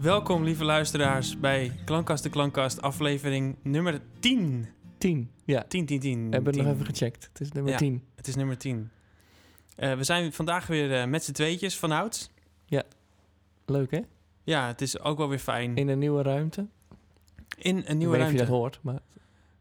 Welkom, lieve luisteraars, bij Klankkast de Klankkast, aflevering nummer 10. 10. Ja, 10, 10, 10. we hebben het 10. nog even gecheckt. Het is nummer Ja. 10. Het is nummer 10. Eh, we zijn vandaag weer eh, met z'n tweetjes van Houts. Leuk, hè? Ja, het is ook wel weer fijn. In, In een nieuwe ruimte. een Ik nieuwe weet niet of je ruimte. dat hoort, maar de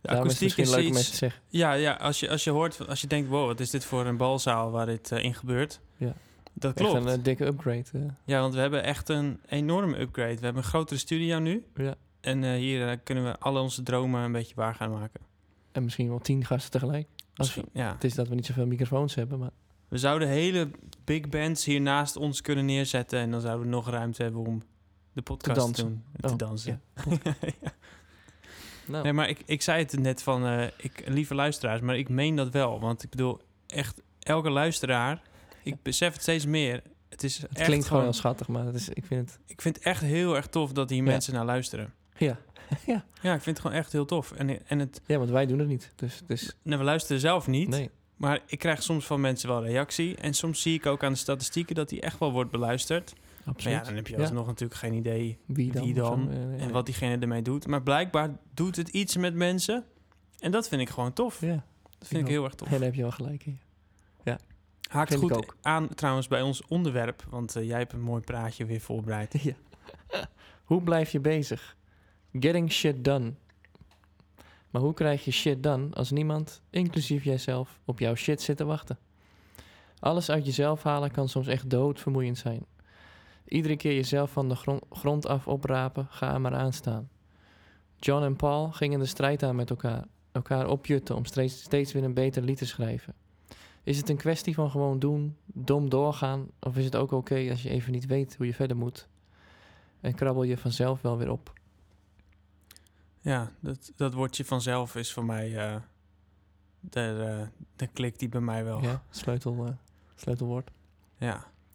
daarom is het akoestiek misschien is leuk om even iets... te zeggen. Ja, ja als, je, als je hoort, als je denkt, wow, wat is dit voor een balzaal waar dit eh, in gebeurt. Ja. Dat Echt klopt. een eh, dikke upgrade. eh. Ja, want we hebben echt een enorme upgrade. We hebben een grotere studio nu. ja. En eh, hier eh, kunnen we alle onze dromen een beetje waar gaan maken. En misschien wel 10 gasten tegelijk. Als Misschien, ja. het is dat we niet zoveel microfoons hebben, maar We zouden hele big bands hier naast ons kunnen neerzetten. En dan zouden we nog ruimte hebben om de podcast te, Te dansen. doen. Te Oh, dansen. Ja. nou, Nee, maar ik, ik zei het net van, eh, ik, lieve luisteraars, maar ik meen dat wel. Want ik bedoel, echt elke luisteraar, ik Ja. besef het steeds meer. Het, is het echt klinkt gewoon heel schattig, maar het is, ik vind het... Ik vind het echt heel erg tof dat hier Ja. mensen naar luisteren. Ja. ja. Ja, ik vind het gewoon echt heel tof. En, en het, ja, want wij doen het niet. Dus, dus nou, we luisteren zelf niet. nee. Maar ik krijg soms van mensen wel reactie. En soms zie ik ook aan de statistieken dat die echt wel wordt beluisterd. Maar Absoluut. ja, dan heb je Ja. alsnog natuurlijk geen idee Wie dan? wie of zo, dan? eh, nee. en wat diegene ermee doet. Maar blijkbaar doet het iets met mensen. En dat vind ik gewoon tof. Ja, Dat vind ik heel erg tof. en daar heb je wel gelijk in. Haakt vind ik goed ook. aan trouwens bij ons onderwerp. Want eh, jij hebt een mooi praatje weer voorbereid. Ja. hoe blijf je bezig? Getting shit done. Maar hoe krijg je shit done als niemand, inclusief jijzelf, op jouw shit zit te wachten? Alles uit jezelf halen kan soms echt doodvermoeiend zijn. Iedere keer jezelf van de gron- grond af oprapen, ga er maar aan staan. John en Paul gingen de strijd aan met elkaar, elkaar opjutten om steeds, steeds weer een beter lied te schrijven. Is het een kwestie van gewoon doen, dom doorgaan, of is het ook oké als je even niet weet hoe je verder moet? En krabbel je vanzelf wel weer op. Ja, dat, dat woordje vanzelf is voor mij... eh de, de klik die bij mij wel. Ja. Ja, sleutel, eh, sleutelwoord.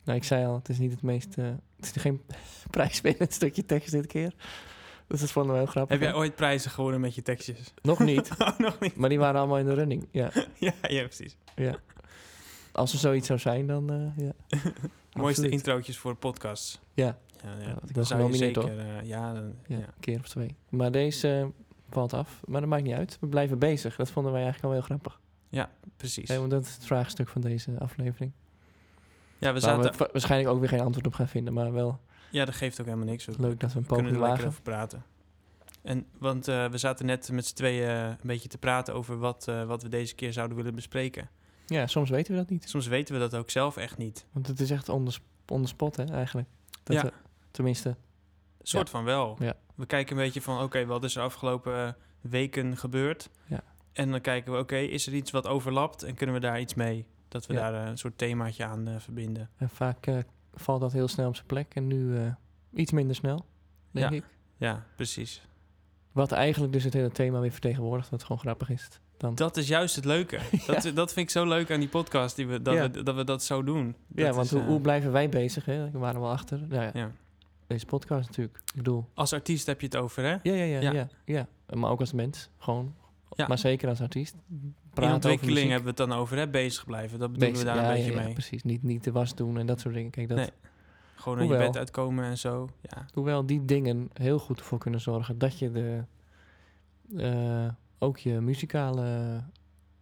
Nou, ik zei al, het is niet het meest... eh, het is geen prijswinnend stukje tekst dit keer. Dus dat vonden we heel grappig. Heb jij ooit prijzen gewonnen met je tekstjes? Nog niet, Oh, nog niet. maar die waren allemaal in de running. Ja, Ja, ja precies. ja. Als er zoiets zou zijn, dan... eh, ja. Mooiste Absoluut. introotjes voor podcasts. Ja. Ja, Ja, ja. want Dan ik was zou je genomineerd, zeker... eh, ja, dan- Ja, ja. een keer of twee. Maar deze eh, valt af. Maar dat maakt niet uit. We blijven bezig. Dat vonden wij eigenlijk al heel grappig. precies. Hè, want dat is het vraagstuk van deze aflevering. Ja, we Waar we zaten... wa- waarschijnlijk ook weer geen antwoord op gaan vinden. Maar wel Ja, dat geeft ook helemaal niks. We leuk dat we een kunnen er poging lekker wagen. over praten. En, want eh, we zaten net met z'n tweeën eh, een beetje te praten over wat, eh, wat we deze keer zouden willen bespreken. Ja, soms weten we dat niet. Soms weten we dat ook zelf echt niet. Want het is echt on the, sp- on the spot, hè, eigenlijk. Dat Ja. we- tenminste, Soort van wel. Ja. We kijken een beetje van, oké, wat is er afgelopen eh, weken gebeurd? Ja. En dan kijken we, oké, is er iets wat overlapt en kunnen we daar iets mee? Dat we Ja. daar eh, een soort themaatje aan eh, verbinden. en vaak eh, valt dat heel snel op zijn plek. En nu eh, iets minder snel, denk Ja. ik. Ja, precies. Wat eigenlijk dus het hele thema weer vertegenwoordigt, wat gewoon grappig is. Dan, Dat is juist het leuke. dat, dat vind ik zo leuk aan die podcast, die we, dat, Ja. we, dat we dat zo doen. ja, Dat want is, hoe, eh, hoe blijven wij bezig? Hè? We waren wel achter. Nou ja, ja. deze podcast natuurlijk. Ik bedoel, Als artiest heb je het over, hè? ja, ja, ja, Ja. ja. ja, Maar ook als mens, gewoon. Ja. Maar zeker als artiest. In Praten ontwikkeling over muziek. hebben we het dan over, hè? Bezig blijven. Dat bedoelen we daar ja, een beetje ja, ja, mee. precies. Niet, niet de was doen en dat soort dingen. Kijk, dat, Nee. Gewoon uit je Hoewel. bed uitkomen en zo. Ja, Hoewel die dingen heel goed ervoor kunnen zorgen dat je de, eh, ook je muzikale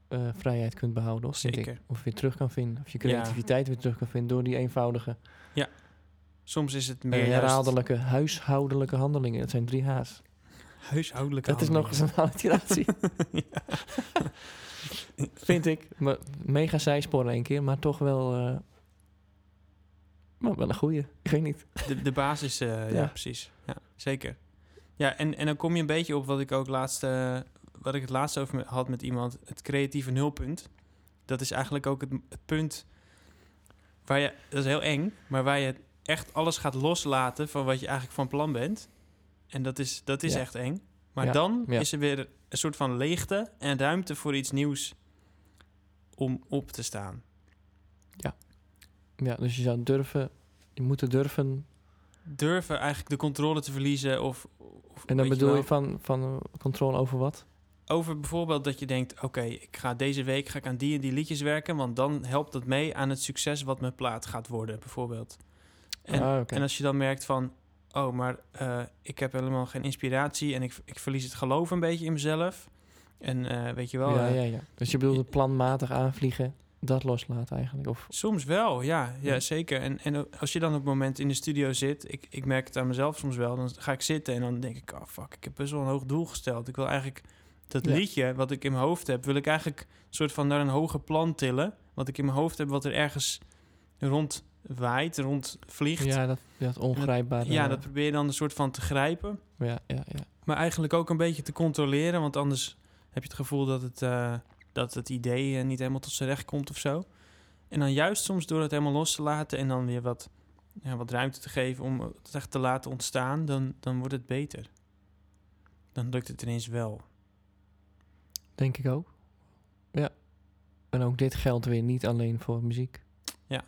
eh, vrijheid kunt behouden. Of, vind ik. Zeker. of weer terug kan vinden. Of je Ja. creativiteit weer terug kan vinden door die eenvoudige, soms is het eh, meer juist herhaaldelijke, huishoudelijke handelingen. Dat zijn drie H's. huishoudelijke Dat is nog eens een alliteratie. Vind ik. Me- Mega zijsporen één keer, maar toch wel, eh, maar wel een goeie. Ik weet niet. De, de basis, eh, ja. Ja. precies. Ja, zeker. Ja, en, en dan kom je een beetje op wat ik ook laatst... eh, wat ik het laatst over me- had met iemand. Het creatieve nulpunt. Dat is eigenlijk ook het, het punt... Waar je, dat is heel eng, maar waar je echt alles gaat loslaten van wat je eigenlijk van plan bent. En dat is, dat is Ja. echt eng. Maar Ja, dan ja. is er weer een soort van leegte en ruimte voor iets nieuws om op te staan. Ja, dus je zou durven, je moet het durven Durven eigenlijk de controle te verliezen of... of weet En dan bedoel wel. je van, van eh, controle over wat? Over bijvoorbeeld dat je denkt: oké, ik ga deze week ga ik aan die en die liedjes werken, want dan helpt dat mee aan het succes wat mijn plaat gaat worden, bijvoorbeeld. En, Ah, oké. en als je dan merkt van: oh, maar eh, ik heb helemaal geen inspiratie en ik, ik verlies het geloof een beetje in mezelf. En eh, weet je wel, ja, eh, ja, ja. Dus je bedoelt het planmatig aanvliegen, dat loslaten eigenlijk. Of, Soms wel, ja, ja Ja. zeker. En, en als je dan op het moment in de studio zit, ik, ik merk het aan mezelf soms wel, dan ga ik zitten en dan denk ik, oh fuck, ik heb best wel een hoog doel gesteld. Ik wil eigenlijk dat Ja. liedje wat ik in mijn hoofd heb, wil ik eigenlijk soort van naar een hoger plan tillen. Wat ik in mijn hoofd heb, wat er ergens rond waait, rond vliegt. Ja, ja, dat, dat ongrijpbare. dat probeer je dan een soort van te grijpen. ja, ja, ja. Maar eigenlijk ook een beetje te controleren, want anders heb je het gevoel dat het, eh, dat het idee eh, niet helemaal tot zijn recht komt of zo. En dan juist soms door het helemaal los te laten en dan weer wat, ja, wat ruimte te geven om het echt te laten ontstaan, dan, dan wordt het beter. Dan lukt het ineens wel. Denk ik ook. Ja. En ook dit geldt weer niet alleen voor muziek. Ja.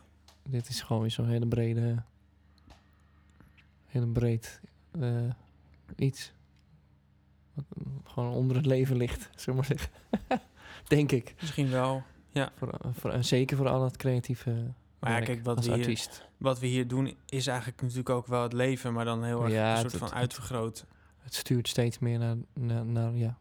Dit is gewoon weer zo'n hele brede... Hele breed eh, iets. Wat mm, gewoon onder het leven ligt, zullen we maar zeggen. Denk ik. Misschien wel. Voor, voor, en zeker voor al dat creatieve Maar ja, werk kijk, wat als we hier- artiest. Wat we hier doen is eigenlijk natuurlijk ook wel het leven, maar dan heel erg Ja, een het- soort van het- uitvergroot. Het stuurt steeds meer naar, naar, naar ja,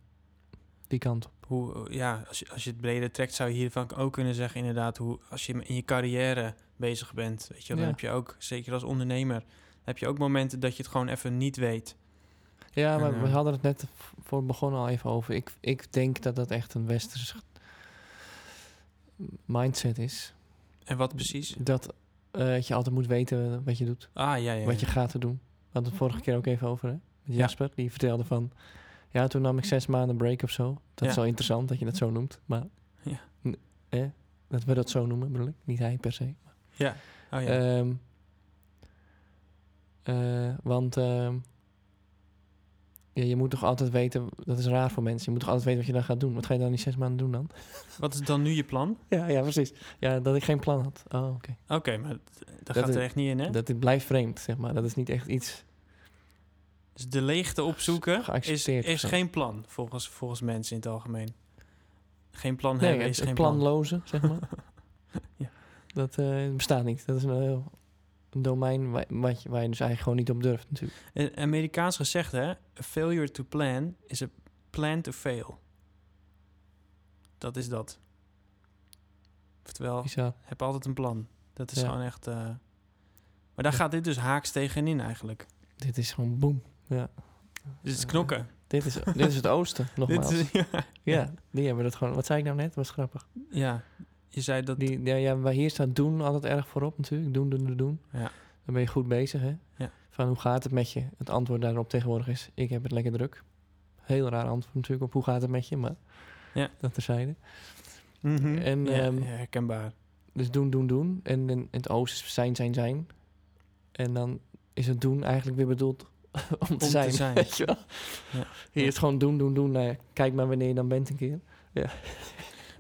die kant op. Hoe, ja, als, je, als je het breder trekt, zou je hiervan ook kunnen zeggen, inderdaad, hoe, als je in je carrière bezig bent, weet je, wel, dan Ja. heb je ook, zeker als ondernemer, heb je ook momenten dat je het gewoon even niet weet. Ja, maar En, we eh, hadden het net v- voor het begonnen al even over. Ik, ik denk dat dat echt een westerse mindset is. En wat precies? Dat eh, dat je altijd moet weten eh, wat je doet, Ah, ja, ja. wat je ja. gaat te doen. We hadden het vorige keer ook even over, hè? Met Jasper, die vertelde van... Ja, toen nam ik zes maanden break of zo. Dat is Ja. wel interessant dat je dat zo noemt, maar... Ja. N- eh, dat we dat zo noemen, bedoel ik. Niet hij per se. Ja. Oh, ja. Ehm, eh, want ehm, ja, je moet toch altijd weten, dat is raar voor mensen, je moet toch altijd weten wat je dan gaat doen. Wat ga je dan in die zes maanden doen dan? wat is dan nu je plan? Ja, ja, precies. Ja, dat ik geen plan had. Oh, oké. Oké, maar dat, dat gaat is- er echt niet in, hè? Dat dit blijft vreemd, zeg maar. Dat is niet echt iets. dus de leegte opzoeken is, Geaccepteerd of is zo. geen plan, volgens, volgens mensen in het algemeen. Geen plan Nee, hebben het, is het geen plan. planloze, zeg maar. Ja. Dat eh, bestaat niet. Dat is een heel een domein waar, wat je- waar je dus eigenlijk gewoon niet op durft, natuurlijk. Een Eh, Amerikaans gezegd, hè? A failure to plan is a plan to fail. Dat is dat. Oftewel, Bizar. heb altijd een plan. Dat is Ja. gewoon echt... eh, Maar daar Ja. gaat dit dus haaks tegenin eigenlijk. Dit is gewoon boem. Dit is knokken. Dit is, dit is het oosten, nogmaals. Dit is, ja. Ja, die hebben dat gewoon. Wat zei ik nou net? Dat was grappig. ja, je zei dat... Die, ja, ja, waar hier staat doen altijd erg voorop natuurlijk. Doen, doen, doen, doen. Ja. Dan ben je goed bezig, hè? Ja. Van hoe gaat het met je? Het antwoord daarop tegenwoordig is, ik heb het lekker druk. Heel raar antwoord natuurlijk op hoe gaat het met je, maar Ja. dat terzijde. Mhm. en, Ja, ehm, herkenbaar. Dus doen, doen, doen. En in het oosten is zijn, zijn, zijn. En dan is het doen eigenlijk weer bedoeld om te te zijn. zijn. Weet je wel? Ja. Hier is gewoon doen, doen, doen. Nou ja, kijk maar wanneer je dan bent een keer.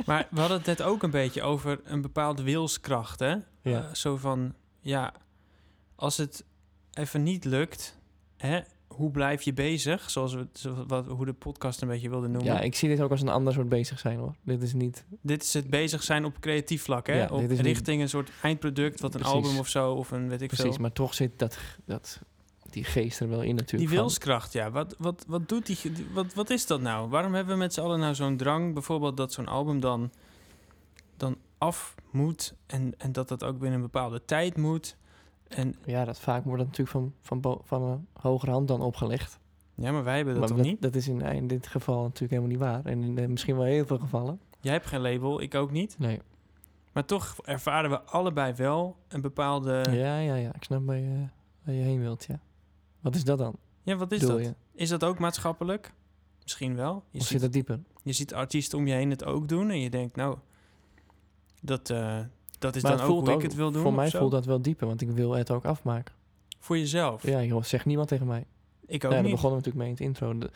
Maar we hadden het net ook een beetje over een bepaalde wilskracht, hè? Ja. Eh, zo van, ja, als het even niet lukt, hè, hoe blijf je bezig? Zoals we het- zo- wat, hoe de podcast een beetje wilde noemen. ja, ik zie dit ook als een ander soort bezig zijn hoor. Dit is niet Dit is het bezig zijn op creatief vlak, hè? Ja, op dit is niet- richting een soort eindproduct, wat een Precies. album of zo, of een weet ik Precies, veel. maar toch zit dat, dat, die geest er wel in Die natuurlijk. van- wilskracht, ja. Wat, wat, wat doet die... ge- die- Wat, wat is dat nou? Waarom hebben we met z'n allen nou zo'n drang... bijvoorbeeld dat zo'n album dan, dan af moet... En, en dat dat ook binnen een bepaalde tijd moet... En Ja, dat vaak wordt dat natuurlijk van, van, bo- van een hogere hand dan opgelegd. ja, maar wij hebben dat maar toch dat, niet? dat is in, in dit geval natuurlijk helemaal niet waar. En in, eh, misschien wel heel veel gevallen. Jij hebt geen label, ik ook niet. Nee. Maar toch ervaren we allebei wel een bepaalde... Ja, Eh. Ja, ja, ja. Ik snap waar je, waar je heen wilt, ja. Wat is dat dan? wat is bedoel dat? je? Is dat ook maatschappelijk? Misschien wel. Je Of zit ziet, dat dieper? je ziet artiesten om je heen het ook doen... en je denkt, nou, dat, eh, dat is Maar dan ook voelt hoe ik het wil doen. Voor of mij zo. voelt dat wel dieper, want ik wil het ook afmaken. Voor jezelf. Ja, joh, zegt niemand tegen mij. Ik ook ja, daar niet. begonnen we natuurlijk mee in het intro. De-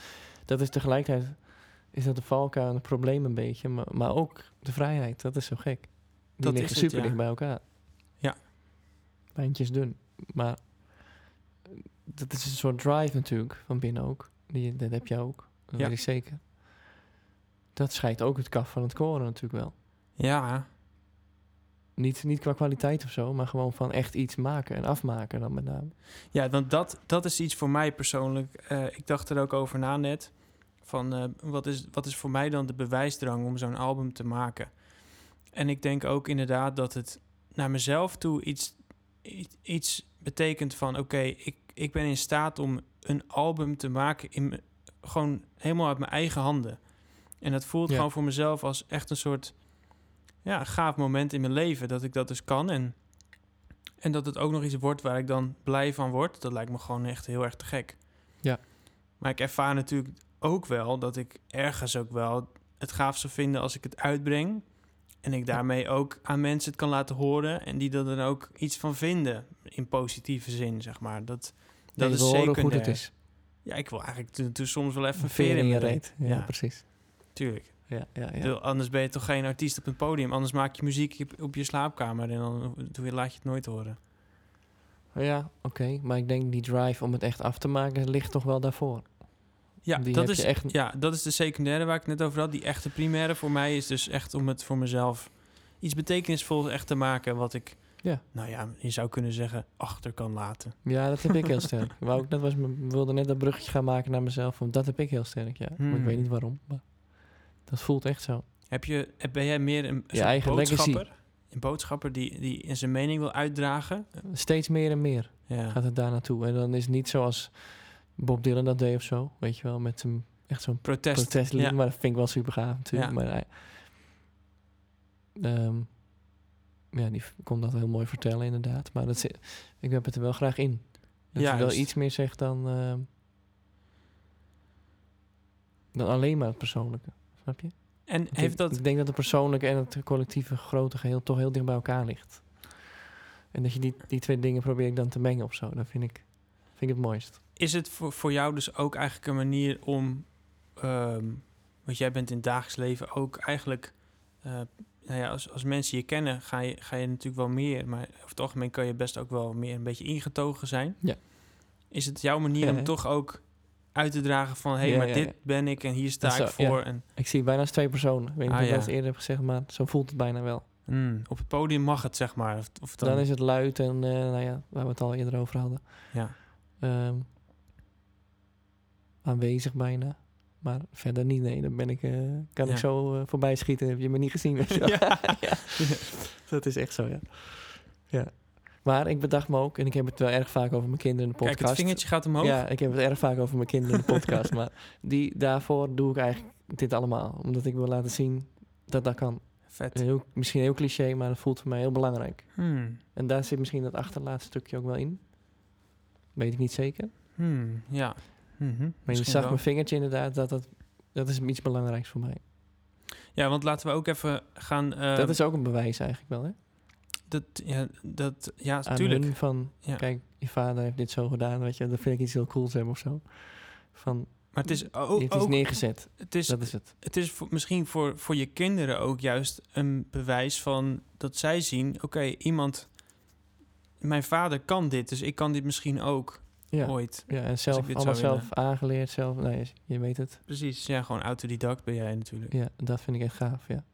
dat is tegelijkertijd, is dat de valkuil en het probleem een beetje, maar, maar ook de vrijheid. Dat is zo gek. Die Dat liggen is het, super ja. dicht bij elkaar. Ja. Lijntjes dun. Maar eh, dat is een soort drive natuurlijk, van binnen ook. Die, dat heb jij ook, dat Ja. weet ik zeker. Dat scheidt ook het kaf van het koren natuurlijk wel. Ja, Niet, niet qua kwaliteit of zo, maar gewoon van echt iets maken en afmaken dan met name. Ja, want dat, dat is iets voor mij persoonlijk. Eh, ik dacht er ook over na net. Van eh, wat, is, wat is voor mij dan de bewijsdrang om zo'n album te maken? En ik denk ook inderdaad dat het naar mezelf toe iets, i- iets betekent van... oké, ik, ik ben in staat om een album te maken... In, m- gewoon helemaal uit mijn eigen handen. En dat voelt Ja. gewoon voor mezelf als echt een soort... ja, gaaf moment in mijn leven dat ik dat dus kan. En en dat het ook nog iets wordt waar ik dan blij van word, dat lijkt me gewoon echt heel erg te gek. Ja. Maar ik ervaar natuurlijk ook wel dat ik ergens ook wel het gaaf zou vinden als ik het uitbreng. En ik daarmee ook aan mensen het kan laten horen en die er dan ook iets van vinden. In positieve zin, zeg maar. Dat, dat Nee, is we horen zeker. hoe goed het is. Ja, ik wil eigenlijk toen soms wel even Een een veer in mijn reet. reet. Ja, Ja. precies. Tuurlijk. Ja, ja, Ik ja. bedoel, Anders ben je toch geen artiest op een podium. Anders maak je muziek op- op je slaapkamer en dan doe je- laat je het nooit horen. Oh ja oké. Maar ik denk die drive om het echt af te maken ligt toch wel daarvoor. Ja, Die dat heb is je echt- ja, dat is de secundaire waar ik het net over had. Die echte primaire voor mij is dus echt om het voor mezelf iets betekenisvols echt te maken. Wat ik, Ja. nou ja, je zou kunnen zeggen, achter kan laten. Ja, dat heb ik heel sterk. Wou ik, dat was, mijn- wilde net dat bruggetje gaan maken naar mezelf. Want dat heb ik heel sterk, ja. Maar Hmm. ik weet niet waarom. Maar dat voelt echt zo. Heb je, heb- ben jij meer een, Je soort eigen boodschapper? legacy. Een boodschapper die, die in zijn mening wil uitdragen? Steeds meer en meer Ja, gaat het daar naartoe. En dan is het niet zoals Bob Dylan dat deed of zo. Weet je wel, met een, echt zo'n protest. protestlied. ja. Maar dat vind ik wel super gaaf natuurlijk. Ja. Maar hij, Ehm, ja, die v- kon dat heel mooi vertellen inderdaad. Maar dat zit, ik heb het er wel graag in. Dat je wel Juist. iets meer zegt dan, ehm, dan alleen maar het persoonlijke. Snap je? En Want heeft ik, dat... ik denk dat het persoonlijke en het collectieve grote geheel toch heel dicht bij elkaar ligt. En dat je die, die twee dingen probeer ik dan te mengen of zo. Dat vind ik, vind ik het mooist. Is het voor, voor jou dus ook eigenlijk een manier om... ehm, want jij bent in het dagelijks leven ook eigenlijk... eh, nou ja, als, als mensen je kennen, ga je, ga je natuurlijk wel meer... maar over het algemeen kan je best ook wel meer een beetje ingetogen zijn. Ja. Is het jouw manier om Ja. toch ook uit te dragen van... hé, hey, Ja, maar ja, dit ja. ben ik en hier sta Dat ik zou- ja. voor. En, Ik zie het bijna als twee personen. Ik weet Ah, niet of ik ja. dat eerder heb gezegd, maar zo voelt het bijna wel. mm, op het podium mag het, zeg maar. Of, of dan, Dan is het luid en eh, nou ja, waar we het al eerder over hadden. Ja. Ehm, aanwezig bijna. Maar verder niet, nee. Dan ben ik, eh, kan Ja. ik zo eh, voorbij schieten. Heb je me niet gezien? Weet je wel. Ja. Dat is echt zo, ja. ja. Maar ik bedacht me ook, en ik heb het wel erg vaak over mijn kinderen in de podcast. Kijk, het vingertje gaat omhoog. Ja, ik heb het erg vaak over mijn kinderen in de podcast. maar die, daarvoor doe ik eigenlijk dit allemaal. Omdat ik wil laten zien dat dat kan. Vet. Heel, misschien heel cliché, maar dat voelt voor mij heel belangrijk. Hmm, En daar zit misschien dat achterlaatste stukje ook wel in. Weet ik niet zeker. hmm, ja. Mhm, Maar je misschien zag wel. mijn vingertje inderdaad, dat, dat, dat is iets belangrijks voor mij. Ja, want laten we ook even gaan... eh, dat is ook een bewijs eigenlijk wel, hè? Dat, ja, dat, ja Aan tuurlijk. hun van, Ja. kijk, je vader heeft dit zo gedaan, weet je. Dat vind ik iets heel cools hebben of zo. Van, Maar het is dit ook, is ook- neergezet. het is, Dat is het. het is voor- misschien voor, voor je kinderen ook juist een bewijs van dat zij zien: oké, iemand, mijn vader kan dit, dus ik kan dit misschien ook Ja. ooit. Ja, en ik zelf, dit allemaal zou zelf willen. aangeleerd, zelf, nou, je, je weet het. Precies. Ja, gewoon autodidact ben jij natuurlijk. Ja, dat vind ik echt gaaf, ja.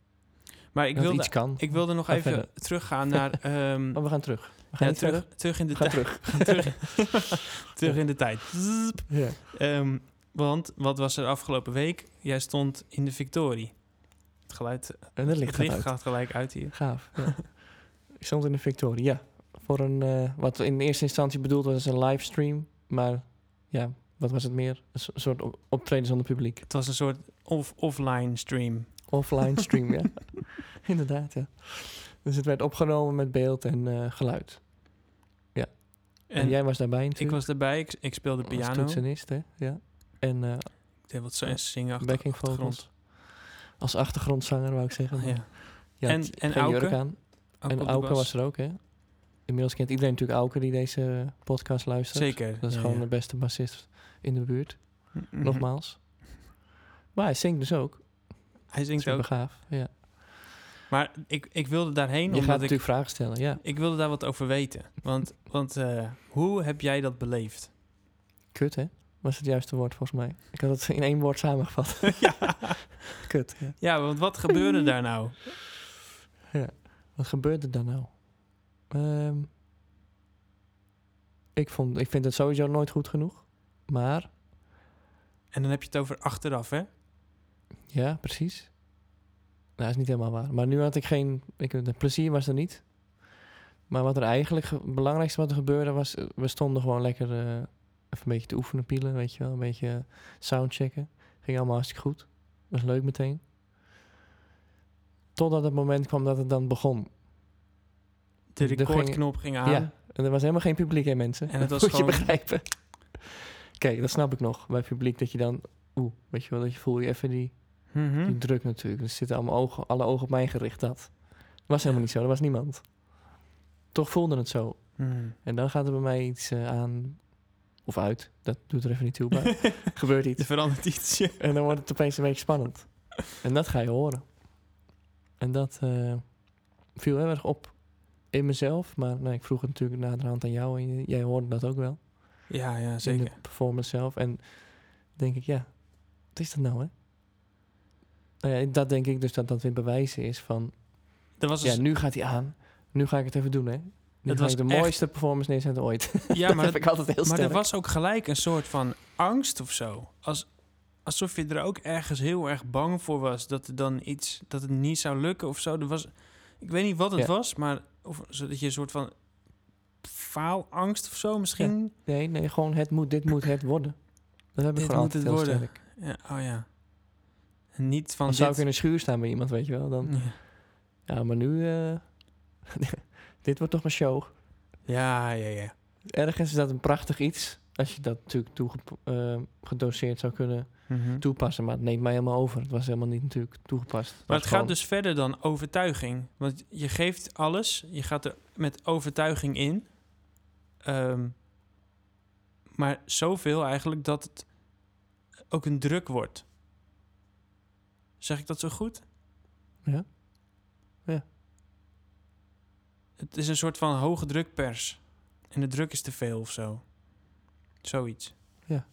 Maar ik dat wilde, iets kan. ik wilde nog Ga even verder. teruggaan naar. ehm, Maar we gaan terug. We gaan ja, niet terug. terug, terug in de We gaan tijd. terug. Terug, terug in de tijd. Zzzp. Ja. Ehm, want wat was er afgelopen week? Jij stond in de Victorie. Het geluid, En het licht het licht gaat uit. gaat gelijk uit hier. Gaaf. Ja. ik stond in de Victoria. Voor een, eh, wat in eerste instantie bedoeld was als een livestream. Maar ja, wat was het meer? Een so- soort o- optreden zonder publiek. Het was een soort off offline stream. Offline stream, ja. Inderdaad, ja. Dus het werd opgenomen met beeld en eh, geluid. En, En jij was daarbij ik natuurlijk. Oh, was erbij, ik, ik speelde Als piano. Ik toetsenist, hè? Ja. En eh, deed wat zo- zingen achter backing achtergrond. vocals. Als achtergrondzanger, wou ik zeggen. maar Ja. je En- had en geen jurk Auke? aan. Ook op de en Auke bas. was er ook, hè? Inmiddels kent iedereen natuurlijk Auke die deze eh, podcast luistert. Zeker. Dat is ja, gewoon ja. de beste bassist in de buurt, Mhm. nogmaals. Maar hij zingt dus ook. Hij zingt Super ook. gaaf. Ja. Maar ik, ik wilde daarheen, Je gaat omdat ik, natuurlijk vragen stellen, ja. ik wilde daar wat over weten. Want, want eh, hoe heb jij dat beleefd? Kut, hè? Was het juiste woord volgens mij. Ik had het in één woord samengevat. ja. Kut, ja. ja, want wat gebeurde daar nou? Ja. Wat gebeurt er dan nou? Ehm, ik, vond, ik vind het sowieso nooit goed genoeg. Maar, En dan heb je het over achteraf, hè? ja, precies. Nou, dat is niet helemaal waar. Maar nu had ik geen... Ik, het plezier was er niet. Maar wat er eigenlijk... ge- Het belangrijkste wat er gebeurde was... eh, We stonden gewoon lekker eh, even een beetje te oefenen, pielen, weet je wel. Een beetje eh, soundchecken. Ging allemaal hartstikke goed. Was leuk meteen. Totdat het moment kwam dat het dan begon. De Er ging- recordknop ging aan. Ja, en er was helemaal geen publiek, hè, mensen? En het was Moet gewoon- je begrijpen. Kijk, dat snap ik nog. Bij publiek dat je dan... Oeh, weet je wel, dat je voel je even die, Mhm. die druk natuurlijk. Er zitten allemaal ogen, alle ogen op mij gericht, dat. was helemaal niet zo, er was niemand. Toch voelde het zo. Mhm. En dan gaat er bij mij iets eh, aan... Of uit, dat doet er even niet toe, maar gebeurt Er iets. verandert iets. ja. En dan wordt het opeens een beetje spannend. En dat ga je horen. En dat eh, viel heel erg op in mezelf. Maar nou, ik vroeg het natuurlijk naderhand aan jou en j- jij hoorde dat ook wel. Ja, ja, In zeker. de performance zelf. En denk ik, ja, wat is dat nou hè? Nou ja, dat denk ik dus dat dat weer bewijzen is van... Er was Ja, dus, nu gaat hij aan. Nu ga ik het even doen hè. Nu Dat ga was ik de echt- mooiste performance neerzetten ooit. ja, dat maar, heb dat- ik altijd heel maar sterk. er was ook gelijk een soort van angst of zo. Als, alsof je er ook ergens heel erg bang voor was dat er dan iets, dat het niet zou lukken of zo. Er was, ik weet niet wat het Ja. was, maar of, zodat je een soort van faalangst of zo misschien. Nee, nee, gewoon het moet, dit moet het worden. Dat heb ik Dit gewoon moet altijd het heel worden. sterk. Ja. oh ja. En niet van Dan zou ik dit- Mm. in een schuur staan bij iemand, weet je wel. Dan, Ja. ja, maar nu... eh, dit wordt toch mijn show. Ja, ja, ja. Ergens is dat een prachtig iets. Als je dat natuurlijk toege- eh, gedoseerd zou kunnen Mhm. toepassen. Maar het neemt mij helemaal over. Het was helemaal niet natuurlijk toegepast. Het Maar was het gaat gewoon- dus verder dan overtuiging. Want je geeft alles, je gaat er met overtuiging in. Ehm, maar zoveel eigenlijk dat het ook een druk wordt. Zeg ik dat zo goed? Ja. Ja. Het is een soort van hoge drukpers. En de druk is te veel of zo. Zoiets. Ja.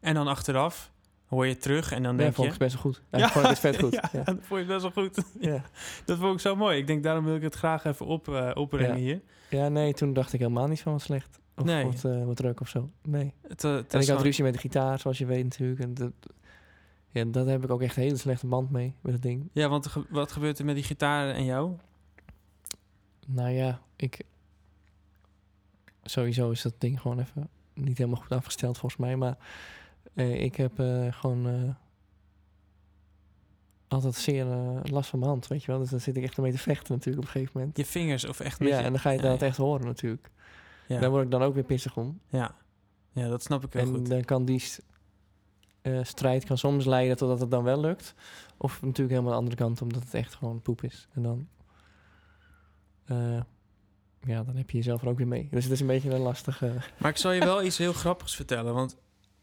En dan achteraf hoor je het terug en dan Nee, denk vond je... ik het best wel goed. Ja, ik vond het best vet goed. ja, Ja, ja. dat vond je best wel goed. Dat vond ik zo mooi. Ik denk, daarom wil ik het graag even op, eh, opbrengen Ja. hier. Ja, nee, toen dacht ik helemaal niet van wat slecht. Of Nee. wat, eh, wat druk of zo. Nee. Het, eh, het En is ik had gewoon- ruzie met de gitaar, zoals je weet natuurlijk. En dat, ja, dat heb ik ook echt een hele slechte band mee, met dat ding. Ja, want ge- wat gebeurt er met die gitaar en jou? Nou ja, ik. Sowieso is dat ding gewoon even niet helemaal goed afgesteld volgens mij. Maar eh, ik heb eh, gewoon eh, altijd zeer eh, last van mijn hand, weet je wel. Dus dan zit ik echt ermee te vechten natuurlijk op een gegeven moment. Je vingers of echt met Ja, je- en dan ga je het ja, dan echt horen natuurlijk. ja, Daar word ik dan ook weer pissig om. ja. Ja, dat snap ik heel en goed. dan kan die st- eh, strijd kan soms leiden totdat het dan wel lukt. Of natuurlijk helemaal de andere kant, omdat het echt gewoon poep is. En dan, eh, ja, dan heb je jezelf er ook weer mee. Dus het is een beetje een lastige... Maar ik zal je wel iets heel grappigs vertellen. Want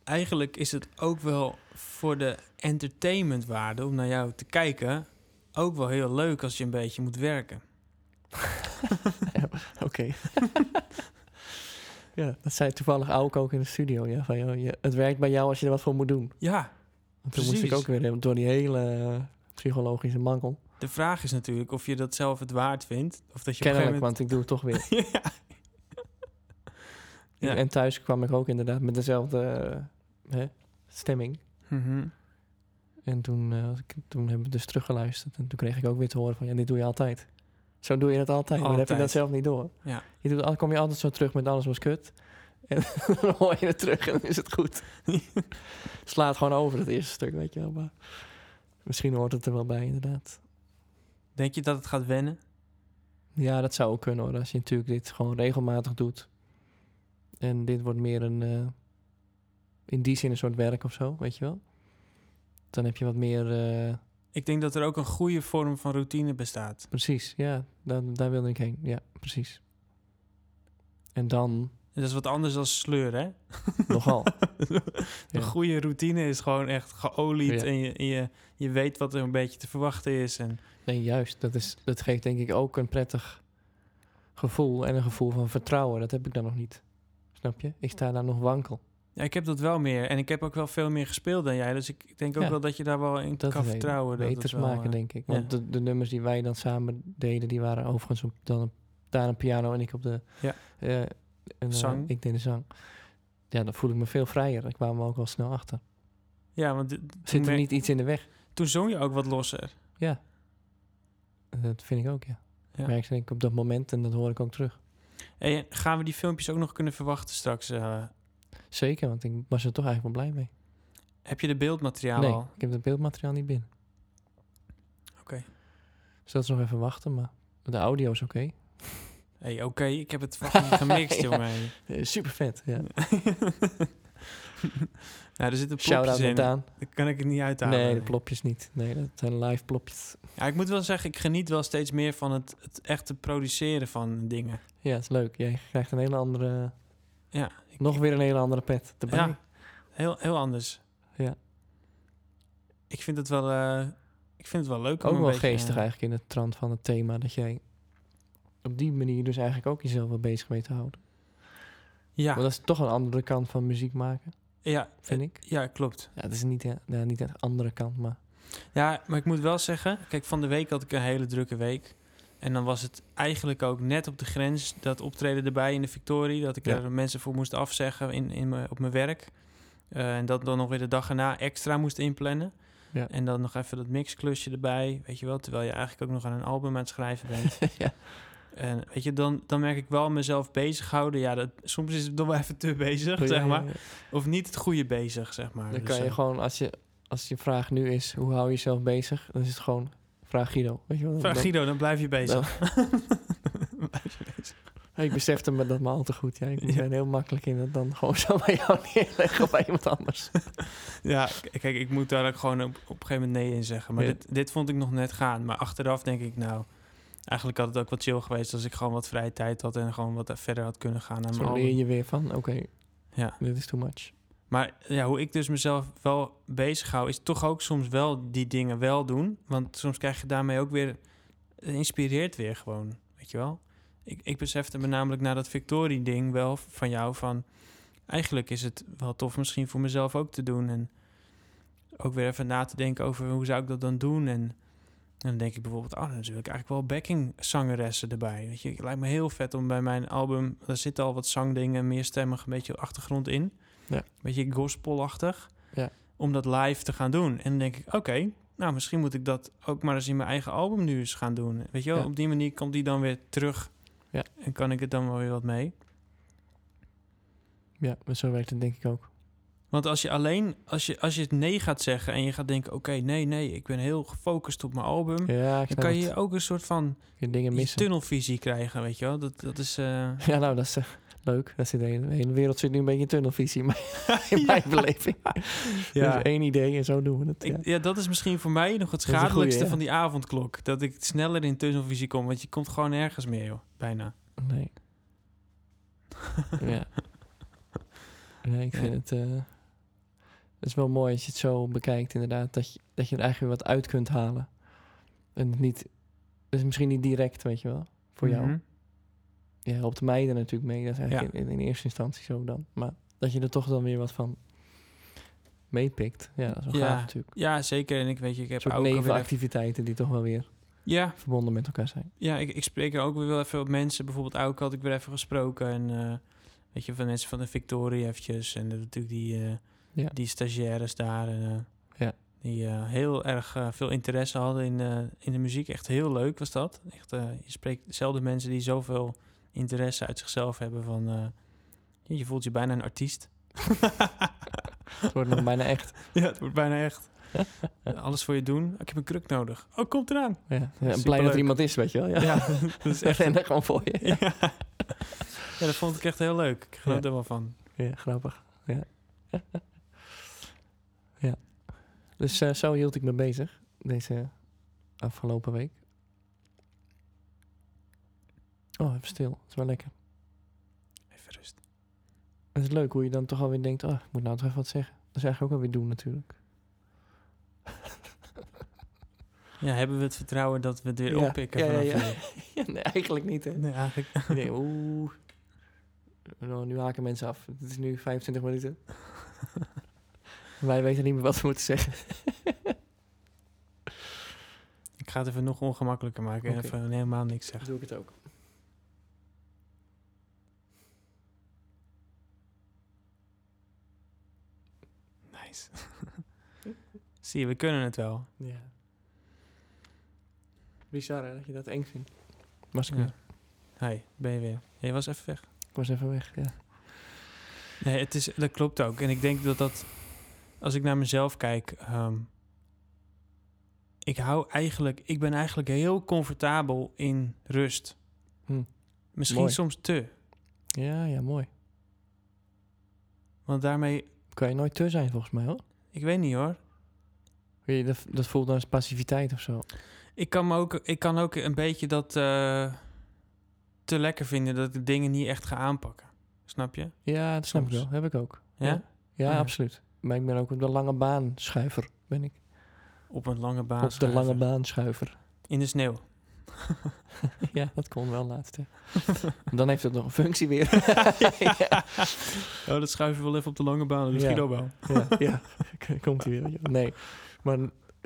eigenlijk is het ook wel voor de entertainmentwaarde om naar jou te kijken... ook wel heel leuk als je een beetje moet werken. Oké. ja, dat zei toevallig Auke ook in de studio. Ja, van, joh, je, het werkt bij jou als je er wat voor moet doen. Ja, Want toen moest ik Precies. ook weer door die hele eh, psychologische mankel. de vraag is natuurlijk of je dat zelf het waard vindt. Of dat je op een Kennelijk, gegeven moment... want ik doe het toch weer. Ja. Ja. En thuis kwam ik ook inderdaad met dezelfde eh, hè, stemming. Mhm. En toen, eh, was ik, toen hebben we dus teruggeluisterd. En toen kreeg ik ook weer te horen van, ja, dit doe je altijd. Zo doe je het altijd, maar dan heb je dat Altijd. zelf niet door. Ja. Je doet, al- kom je altijd zo terug met alles was kut. En dan hoor je het terug en dan is het goed. Slaat gewoon over het eerste stuk, weet je wel. Maar misschien hoort het er wel bij, inderdaad. Denk je dat het gaat wennen? Ja, dat zou ook kunnen hoor. Als je natuurlijk dit gewoon regelmatig doet. En dit wordt meer een. eh, in die zin een soort werk of zo, weet je wel. Dan heb je wat meer. eh, Ik denk dat er ook een goede vorm van routine bestaat. precies, ja. Daar, daar wilde ik heen. Ja, precies. En dan En dat is wat anders dan sleur, hè? nogal. Een Ja. goede routine is gewoon echt geolied Ja. en je, je, je weet wat er een beetje te verwachten is. En Nee, juist. Dat, is, dat geeft denk ik ook een prettig gevoel. En een gevoel van vertrouwen. Dat heb ik dan nog niet. Snap je? Ik sta daar nog wankel. Ja, ik heb dat wel meer. En ik heb ook wel veel meer gespeeld dan jij. Dus ik, ik denk ook Ja. wel dat je daar wel in Dat kan weet ik. vertrouwen. Dat Beter het wel, maken, eh, denk ik. Want ja. de, de nummers die wij dan samen deden, die waren overigens op, dan op, daar een piano en ik op de Ja. eh, en, eh, Zang. ik deed de zang. Ja, dan voel ik me veel vrijer. Daar kwamen we ook al snel achter. Ja, want d- toen, Zit er mer- niet iets in de weg? toen zong je ook wat losser. Ja. Dat vind ik ook, ja. Ja. Merk ik denk ik op dat moment en dat hoor ik ook terug. En gaan we die filmpjes ook nog kunnen verwachten straks? eh? Zeker, want ik was er toch eigenlijk wel blij mee. heb je de beeldmateriaal nee, al? ik heb het beeldmateriaal niet binnen. Oké. Dus dat is nog even wachten, maar de audio is oké. Hey, Oké, ik heb het fucking gemixt, Ja. jongen. Eh, super vet, ja. nou, er zitten plopjes Shout-out in. met Dan Daan. kan ik het niet uithalen. Nee, de plopjes niet. Nee, dat zijn live plopjes. Ja, ik moet wel zeggen, ik geniet wel steeds meer van het, het echte produceren van dingen. Ja, is leuk. Jij krijgt een hele andere... Ja, ik- Nog weer een hele andere pet erbij. Ja. Heel, heel anders. Ja. Ik vind het wel, eh, ik vind het wel leuk. om Ook een wel beetje, geestig eh, eigenlijk in het trant van het thema. Dat jij op die manier dus eigenlijk ook jezelf wel bezig mee te houden. ja, Maar dat is toch een andere kant van muziek maken, ja, vind eh, ik. ja, klopt. Ja, het is niet, eh, ja, niet echt andere kant, maar... Ja, maar ik moet wel zeggen, kijk, van de week had ik een hele drukke week. En dan was het eigenlijk ook net op de grens, dat optreden erbij in de Victorie, dat ik Ja. er mensen voor moest afzeggen in, in mijn- op mijn werk. Eh, en dat dan nog weer de dag erna extra moest inplannen. Ja. En dan nog even dat mixklusje erbij, weet je wel. Terwijl je eigenlijk ook nog aan een album aan het schrijven bent. ja. En weet je, dan, dan merk ik wel mezelf bezighouden. Ja, dat, soms is het nog wel even te bezig, Oh, Ja, zeg ja, maar. ja. Of niet het goede bezig, zeg maar. Dan Dus, kan je eh, gewoon, als je, als je vraag nu is, hoe hou je jezelf bezig? Dan is het gewoon, vraag Guido. Weet je wel? Vraag Dan- Guido, dan blijf je bezig. Blijf je bezig. Ik besefte me dat maar al te goed. Ja. Ik Ja. ben heel makkelijk in dat dan gewoon zo bij jou neerleggen of bij iemand anders. ja, k- kijk, ik moet daar ook gewoon op, op een gegeven moment nee in zeggen. Maar Ja. dit, dit vond ik nog net gaan. Maar achteraf denk ik, nou... Eigenlijk had het ook wat chill geweest als ik gewoon wat vrije tijd had... en gewoon wat verder had kunnen gaan aan mijn Zo leer album. je weer van, oké, Ja. dit is too much. Maar ja, hoe ik dus mezelf wel bezig hou, is toch ook soms wel die dingen wel doen. Want soms krijg je daarmee ook weer. Het inspireert weer gewoon, weet je wel. Ik, ik besefte me namelijk na dat Victorie-ding wel van jou van. Eigenlijk is het wel tof misschien voor mezelf ook te doen. En ook weer even na te denken over hoe zou ik dat dan doen. En, dan denk ik bijvoorbeeld, oh, dan wil ik eigenlijk wel backing-zangeressen erbij. Weet je, het lijkt me heel vet om bij mijn album. Daar zitten al wat zangdingen, meerstemmig, een beetje achtergrond in beetje gospelachtig. Ja. Om dat live te gaan doen. En dan denk ik, oké, nou misschien moet ik dat ook maar eens in mijn eigen album nu eens gaan doen. Weet je wel, Ja. op die manier komt die dan weer terug. Ja. En kan ik het dan wel weer wat mee. Ja, maar zo werkt het denk ik ook. Want als je alleen, als je, als je het nee gaat zeggen en je gaat denken, oké, nee, nee, ik ben heel gefocust op mijn album. Hm. Ja, ik Dan snap kan het. je ook een soort van Je dingen iets missen. tunnelvisie krijgen, weet je wel. Dat, dat is... eh, Ja, nou, dat is eh, leuk. Dat zit de, hele, de hele wereld zit nu een beetje in tunnelvisie, maar in mijn beleving. Ja. Dus één idee en zo doen we het. Ik- Ja. ja, dat is misschien voor mij nog het is een goeie, schadelijkste ja. van die avondklok. Dat ik sneller in tunnelvisie kom, want je komt gewoon ergens meer, joh. Bijna. Nee. ja. Nee, ik vind Ja. het... eh, het is wel mooi als je het zo bekijkt inderdaad. Dat je, dat je er eigenlijk weer wat uit kunt halen. En het niet... Het is misschien niet direct, weet je wel. Voor jou. Mhm. Je helpt mij er natuurlijk mee. Dat is eigenlijk in, in eerste instantie zo dan. Maar dat je er toch dan weer wat van meepikt. Ja, dat is wel Ja. gaaf natuurlijk. Ja, zeker. En ik weet je, ik Een heb soort ook weer... even- nevenactiviteiten die toch wel weer Ja, verbonden met elkaar zijn. ja ik, ik spreek er ook weer wel even op mensen. Bijvoorbeeld Auke had ik weer even gesproken. En eh, weet je, van mensen van de Victoria eventjes. En dat natuurlijk die, eh, Ja. die stagiaires daar. En, eh, Ja. Die eh, heel erg eh, veel interesse hadden in, eh, in de muziek. Echt heel leuk was dat. Echt, eh, je spreekt dezelfde mensen die zoveel interesse uit zichzelf hebben van... eh, je- je voelt je bijna een artiest. Het wordt nog bijna echt. Ja, het wordt bijna echt. Alles voor je doen. Ik heb een kruk nodig. Oh, komt eraan. Ja. Ja, blij dat Superleuk. er iemand is, weet je wel. Ja. Ja, dat is echt en daar gewoon voor je. ja. ja, dat vond ik echt heel leuk. Ik genoot Ja. er wel van. Ja, grappig. Ja. ja. Dus eh, zo hield ik me bezig deze afgelopen week. Oh, even stil. Dat is wel lekker. Even rust. Het is leuk hoe je dan toch alweer denkt, oh, ik moet nou toch even wat zeggen. Dat is eigenlijk ook alweer doen natuurlijk. Ja, hebben we het vertrouwen dat we het weer Ja. oppikken Ja, ja, vanaf ja. hier? Ja, nee, eigenlijk niet hè. Nee, eigenlijk. Nee, oeh. Nou, nu haken mensen af. Het is nu 25 minuten. Wij weten niet meer wat we moeten zeggen. Ik ga het even nog ongemakkelijker maken en Oké. even helemaal niks zeggen. Doe ik het ook. Nice. Zie je, we kunnen het wel. Ja. Bizar hè, dat je dat eng vindt. Was ik Ja. weer. Hi, ben je weer? Ja, je was even weg. Ik was even weg, ja. Nee, het is, dat klopt ook. En ik denk dat dat, als ik naar mezelf kijk, ehm, ik hou eigenlijk, ik ben eigenlijk heel comfortabel in rust. Hm. Misschien Mooi. soms te, Ja, ja, mooi. want daarmee, Kan je nooit te zijn volgens mij hoor. ik weet niet hoor. Weet je, Dat, dat voelt dan als passiviteit of zo. Ik kan, me ook, ik kan ook een beetje dat eh, te lekker vinden dat ik de dingen niet echt ga aanpakken. Snap je? Ja, dat snap ik Soms. wel. Heb ik ook. Ja? Ja. Ja, Ja. absoluut. Maar ik ben ook op de lange baan schuiver, ben ik. Op een lange baan. op de schuiven. lange baan schuiver. In de sneeuw. ja, dat kon wel laatst. hè. dan heeft het nog een functie weer. ja. Oh, dat schuif je wel even op de lange baan. Dat Ja. Guido wel. ja, ja. K- komt hij weer. joh. Nee, maar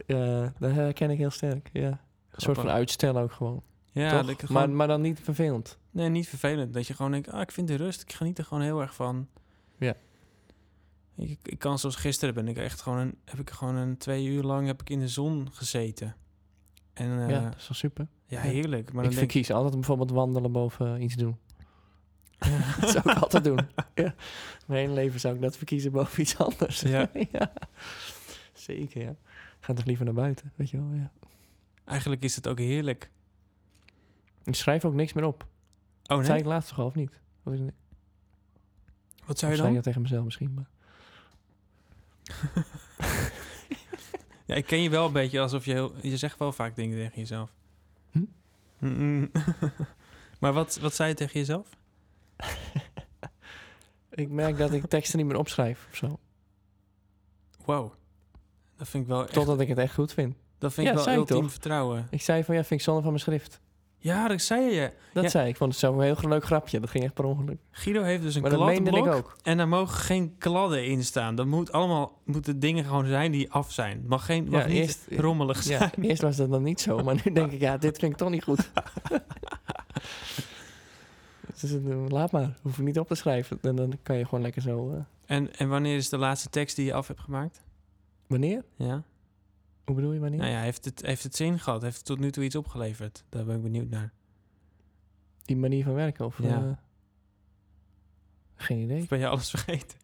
eh dat herken ik heel sterk. Ja. Een soort van Grappig. uitstellen ook gewoon. Ja, toch? dat ik maar, gewoon- maar dan niet vervelend. nee, niet vervelend. Dat je gewoon denkt, ah, ik vind de rust. Ik geniet er gewoon heel erg van. Ja. Ik, ik kan zoals gisteren ben ik echt gewoon een, heb ik gewoon een twee uur lang heb ik in de zon gezeten. En eh, ja, ja. dat is wel super. heerlijk. Maar ik dan denk verkies altijd bijvoorbeeld wandelen boven eh, iets doen. dat zou ik altijd doen. Ja. Mijn hele leven zou ik dat verkiezen boven iets anders. Ja. Ja. Zeker, ja. Ga toch liever naar buiten, weet je wel. Ja. eigenlijk is het ook heerlijk. Ik schrijf ook niks meer op. Oh Dat nee, zei ik laatst toch al, of niet? Of is het- wat zou je oh, zei ik dan? dat tegen mezelf misschien, maar... Ja, ik ken je wel een beetje alsof je heel, je zegt wel vaak dingen tegen jezelf. Hm? Mm-mm. maar wat, wat zei je tegen jezelf? Ik merk dat ik teksten niet meer opschrijf of zo. Wow. Dat vind ik wel echt, Totdat ik het echt goed vind. dat vind Ja, ik wel zei ik ultiem toch? vertrouwen. Ik zei van, ja, vind ik zonde van mijn schrift. Ja, dat zei je. Dat Ja. zei ik. Ik vond het zelf een heel leuk grapje. Dat ging echt per ongeluk. Guido heeft dus een maar dat meende ik kladblok ook. en daar mogen geen kladden in staan. Dat moet allemaal moeten dingen gewoon zijn die af zijn. Het Mag geen mag Ja, niet eerst- rommelig zijn. Ja, eerst was dat dan niet zo, maar nu denk ik, ja, dit vind ik toch niet goed. dus eh, laat maar, hoef ik niet op te schrijven. En dan kan je gewoon lekker zo. eh, En, en wanneer is de laatste tekst die je af hebt gemaakt? wanneer? Ja. Hoe bedoel je wanneer? Nou ja, heeft het, heeft het zin gehad? Heeft het tot nu toe iets opgeleverd? Daar ben ik benieuwd naar. Die manier van werken of. Ja. eh, geen idee. Of ben je alles vergeten?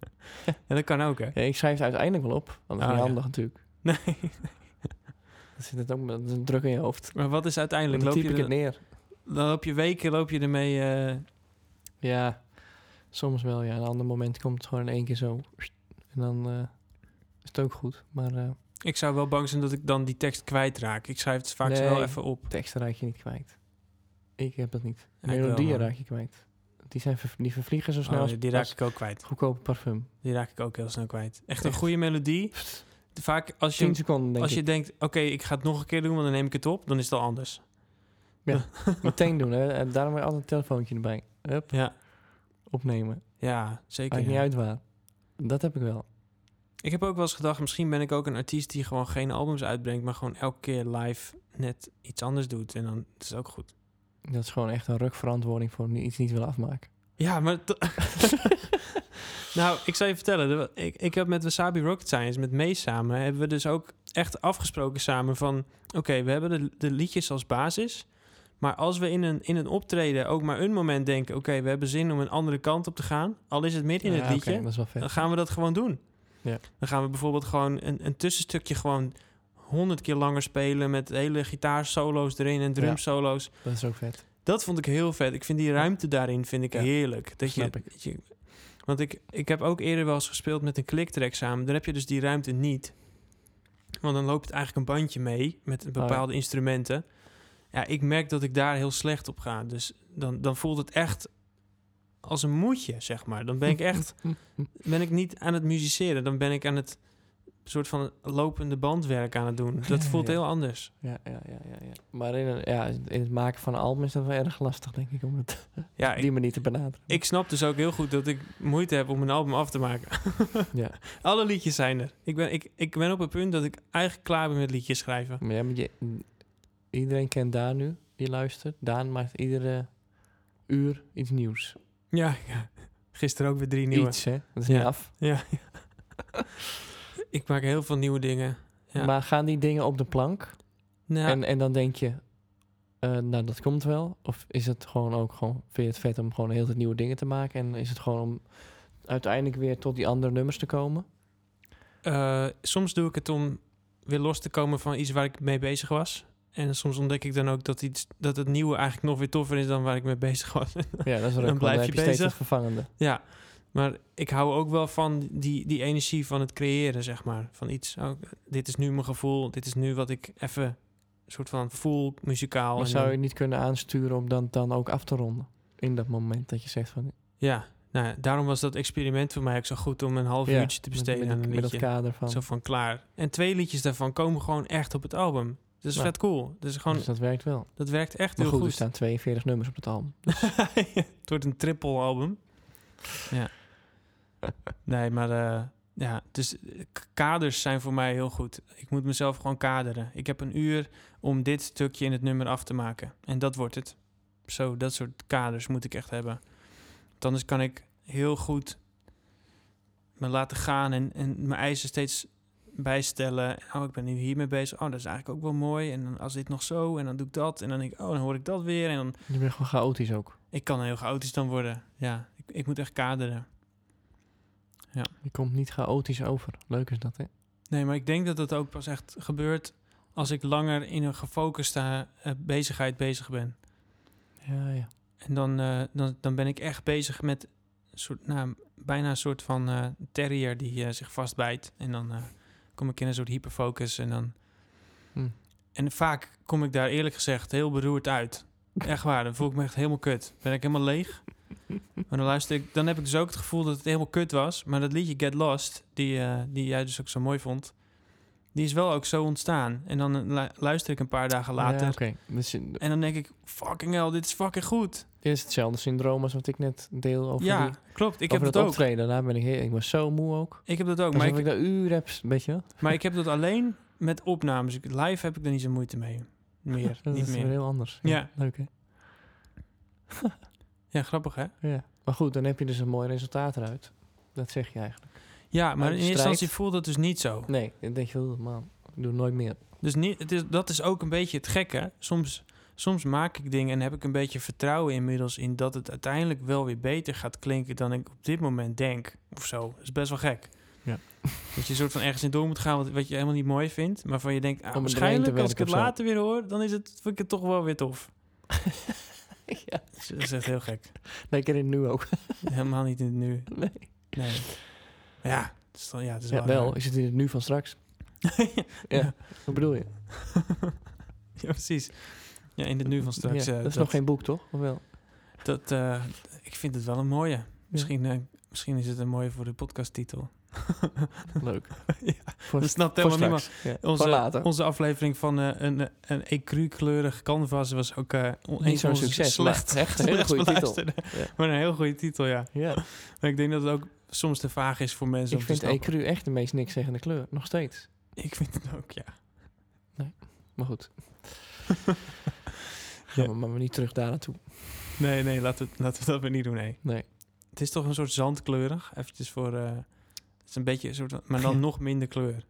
ja, dat kan ook, hè? Ja, ik schrijf het uiteindelijk wel op, want dat is Oh, niet ja. handig natuurlijk. Nee. Dan zit het ook met dat is een druk in je hoofd. Maar wat is En uiteindelijk? dan Loop typ je, ik het er- neer. dan loop je weken loop je ermee... eh, Ja, soms wel. Ja, een ander moment komt het gewoon in één keer zo. En dan eh, is het ook goed. Maar eh ik zou wel bang zijn dat ik dan die tekst kwijtraak. Ik schrijf het vaak Nee. wel even op. teksten raak je niet kwijt. Ik heb dat niet. Ja, ik wel, Melodieën man. raak je kwijt. Die, zijn ver- die vervliegen zo snel eh, Oh, als, die raak als ik ook kwijt. goedkope parfum. Die raak ik ook heel snel kwijt. Echt een Echt. goede melodie. Vaak als 10 je, seconden denk als je ik. denkt, oké, ik ga het nog een keer doen, want dan neem ik het op, dan is het al anders. Meteen doen. Hè. En daarom heb je altijd een telefoontje erbij. Hup, Ja, opnemen. ja zeker. Maakt ja. niet uit waar. Dat heb ik wel. Ik heb ook wel eens gedacht, misschien ben ik ook een artiest die gewoon geen albums uitbrengt, maar gewoon elke keer live net iets anders doet. En dan is het is ook goed. Dat is gewoon echt een rukverantwoording voor ni- iets niet willen afmaken. Ja, maar. t- nou, ik zal je vertellen. er wa- Ik, ik heb met Wasabi Rocket Science, met Mees samen, hebben we dus ook echt afgesproken samen van: oké, we hebben de, de liedjes als basis. Maar als we in een, in een optreden ook maar een moment denken: oké, we hebben zin om een andere kant op te gaan, al is het midden in Ja, het liedje, oké, dat is wel vet. dan gaan we dat gewoon doen. Ja. Dan gaan we bijvoorbeeld gewoon een, een tussenstukje gewoon honderd keer langer spelen met hele gitaarsolo's erin en drumsolo's. Dat is ook vet. Dat vond ik heel vet. Ik vind die ruimte daarin vind ik Ja, heerlijk. Dat je, snap ik. dat je- want ik, ik heb ook eerder wel eens gespeeld met een clicktrack samen. Daar heb je dus die ruimte niet. Want dan loopt eigenlijk een bandje mee Oh met bepaalde instrumenten. Ja, ik merk dat ik daar heel slecht op ga. Dus dan, dan voelt het echt als een moedje, zeg maar. Dan ben ik echt Hm, hm. ben ik niet aan het musiceren. Dan ben ik aan het soort van lopende bandwerk aan het doen. Dat Ja, voelt ja. heel anders. Ja, ja, ja, ja, ja. Maar in, een- ja, in het maken van een album is dat wel erg lastig, denk ik, om het Ja, op ik, die manier te benaderen. ik snap dus ook heel goed dat ik moeite heb om een album af te maken. Ja. Alle liedjes zijn er. Ik ben, ik, ik ben op het punt dat ik eigenlijk klaar ben met liedjes schrijven. Maar ja, maar je, iedereen kent Daan nu, die luistert. Daan maakt iedere uur iets nieuws. Ja, ja. gisteren ook weer drie nieuwe. Iets, hè? Dat is Ja. niet af. Ja. ik maak heel veel nieuwe dingen. Ja. Maar gaan die dingen op de plank? Nou, En, en dan denk je, eh, nou, dat komt wel. Of is het gewoon ook gewoon, vind je het vet om gewoon heel veel nieuwe dingen te maken? En is het gewoon om uiteindelijk weer tot die andere nummers te komen? eh, soms doe ik het om weer los te komen van iets waar ik mee bezig was. En soms ontdek ik dan ook dat, iets, dat het nieuwe eigenlijk nog weer toffer is dan waar ik mee bezig was. Ja, dat is Dan leuk. blijf dan je heb je steeds bezig. het vervangende. Ja, maar ik hou ook wel van die, die energie van het creëren, zeg maar. Van iets, oh, dit is nu mijn gevoel, dit is nu wat ik even soort van voel, muzikaal. Maar en zou dan- je niet kunnen aansturen om dan, dan ook af te ronden? In dat moment dat je zegt van... Ja, nou, ja, daarom was dat experiment voor mij ook zo goed om een half ja, uurtje te met- besteden met, aan die- een met liedje. dat kader van... Zo van klaar. En twee liedjes daarvan komen gewoon echt op het album. Dat is Nou. vet cool. Dat, is gewoon, dus dat werkt wel. dat werkt echt Maar heel goed, dus er goed. staan 42 nummers op het album. het wordt een triple album. Ja. Nee, maar eh, ja, dus eh, k- kaders zijn voor mij heel goed. Ik moet mezelf gewoon kaderen. Ik heb een uur om dit stukje in het nummer af te maken. En dat wordt het. Zo, dat soort kaders moet ik echt hebben. Want anders kan ik heel goed me laten gaan en, en mijn eisen steeds bijstellen. Oh, ik ben nu hiermee bezig. Oh, dat is eigenlijk ook wel mooi. En dan als dit nog zo, en dan doe ik dat. En dan denk ik, oh, dan hoor ik dat weer. En dan Je bent gewoon chaotisch ook. ik kan heel chaotisch dan worden. Ja, ik, ik moet echt kaderen. Je komt niet chaotisch over. Leuk is dat, hè? Nee, maar ik denk dat dat ook pas echt gebeurt als ik langer in een gefocuste eh, bezigheid bezig ben. Ja, ja. En dan, eh, dan, dan ben ik echt bezig met een soort, nou, bijna een soort van eh, terrier die eh, zich vastbijt. En dan eh, kom ik in een soort hyperfocus. En, dan... Hm. en vaak kom ik daar eerlijk gezegd heel beroerd uit. Echt waar, dan voel ik me echt helemaal kut. Ben ik helemaal leeg. Maar dan luister ik, dan heb ik dus ook het gevoel dat het helemaal kut was. Maar dat liedje Get Lost, die, eh, die jij dus ook zo mooi vond, die is wel ook zo ontstaan. En dan eh, lu- luister ik een paar dagen later. Ja, Oké, dus eh, En dan denk ik, fucking hell, dit is fucking goed. dit is hetzelfde syndroom als wat ik net deel over, ja, die, klopt. Ik ik heb dat over dat ook. optreden. Daarna ben ik, heel- ik was zo moe ook. Ik heb dat ook. Maar Alsof ik, ik, daar uren heb, s- weet je wel? maar ik heb dat alleen met opnames. Ik- Live heb ik er niet zo moeite mee. Meer, dat niet is weer meer. heel anders. Ja. Leuk, hè? Ja, grappig hè? Ja. Maar goed, dan heb je dus een mooi resultaat eruit. Dat zeg je eigenlijk. Ja, maar de in eerste strijd. instantie voelt dat dus niet zo. Nee, dan denk je, oh man, ik doe het nooit meer. Dus niet, het is, dat is ook een beetje het gekke. Soms, soms maak ik dingen en heb ik een beetje vertrouwen inmiddels in dat het uiteindelijk wel weer beter gaat klinken dan ik op dit moment denk. Of zo. Dat is best wel gek. Ja. Dat je soort van ergens in door moet gaan wat, wat je helemaal niet mooi vindt. Maar van je denkt, ah, Om het doorheen te waarschijnlijk als ik werken het of zo. later weer hoor, dan is het, vind ik het toch wel weer tof. Dus ja. Dat is echt heel gek. Lekker in het nu ook. Helemaal niet in het nu. Nee. Nee. Maar Ja, het is, dan, ja, het is Ja, wel. wel, raar. is het in het nu van straks? Ja. Wat bedoel je? ja, precies. Ja, in het nu van straks. Ja, eh, dat is nog geen boek, toch? Of wel? dat, eh, ik vind het wel een mooie. Misschien, eh, misschien is het een mooie voor de podcasttitel. Leuk. Ja, Voor, Dat snapt voor helemaal niemand. straks. Ja. voor Onze, later. onze aflevering van eh, een, een ecru-kleurig canvas was ook eh on- Niet een zo'n van onze succes, Slecht, maar echt een hele slechts goede titel. beluisterde. Maar een heel goede titel, ja. ja. Maar ik denk dat het ook soms te vaag is voor mensen Ik om te vind snappen. ecru echt de meest nikszeggende kleur. Nog steeds. Ik vind het ook, ja. Maar goed. Gaan we maar niet terug daar naartoe. Nee, nee, laten we, laten we dat maar niet doen, nee. Nee. Het is toch een soort zandkleurig, eventjes voor... eh, het is een beetje een soort... van- Maar dan Ja. nog minder kleur.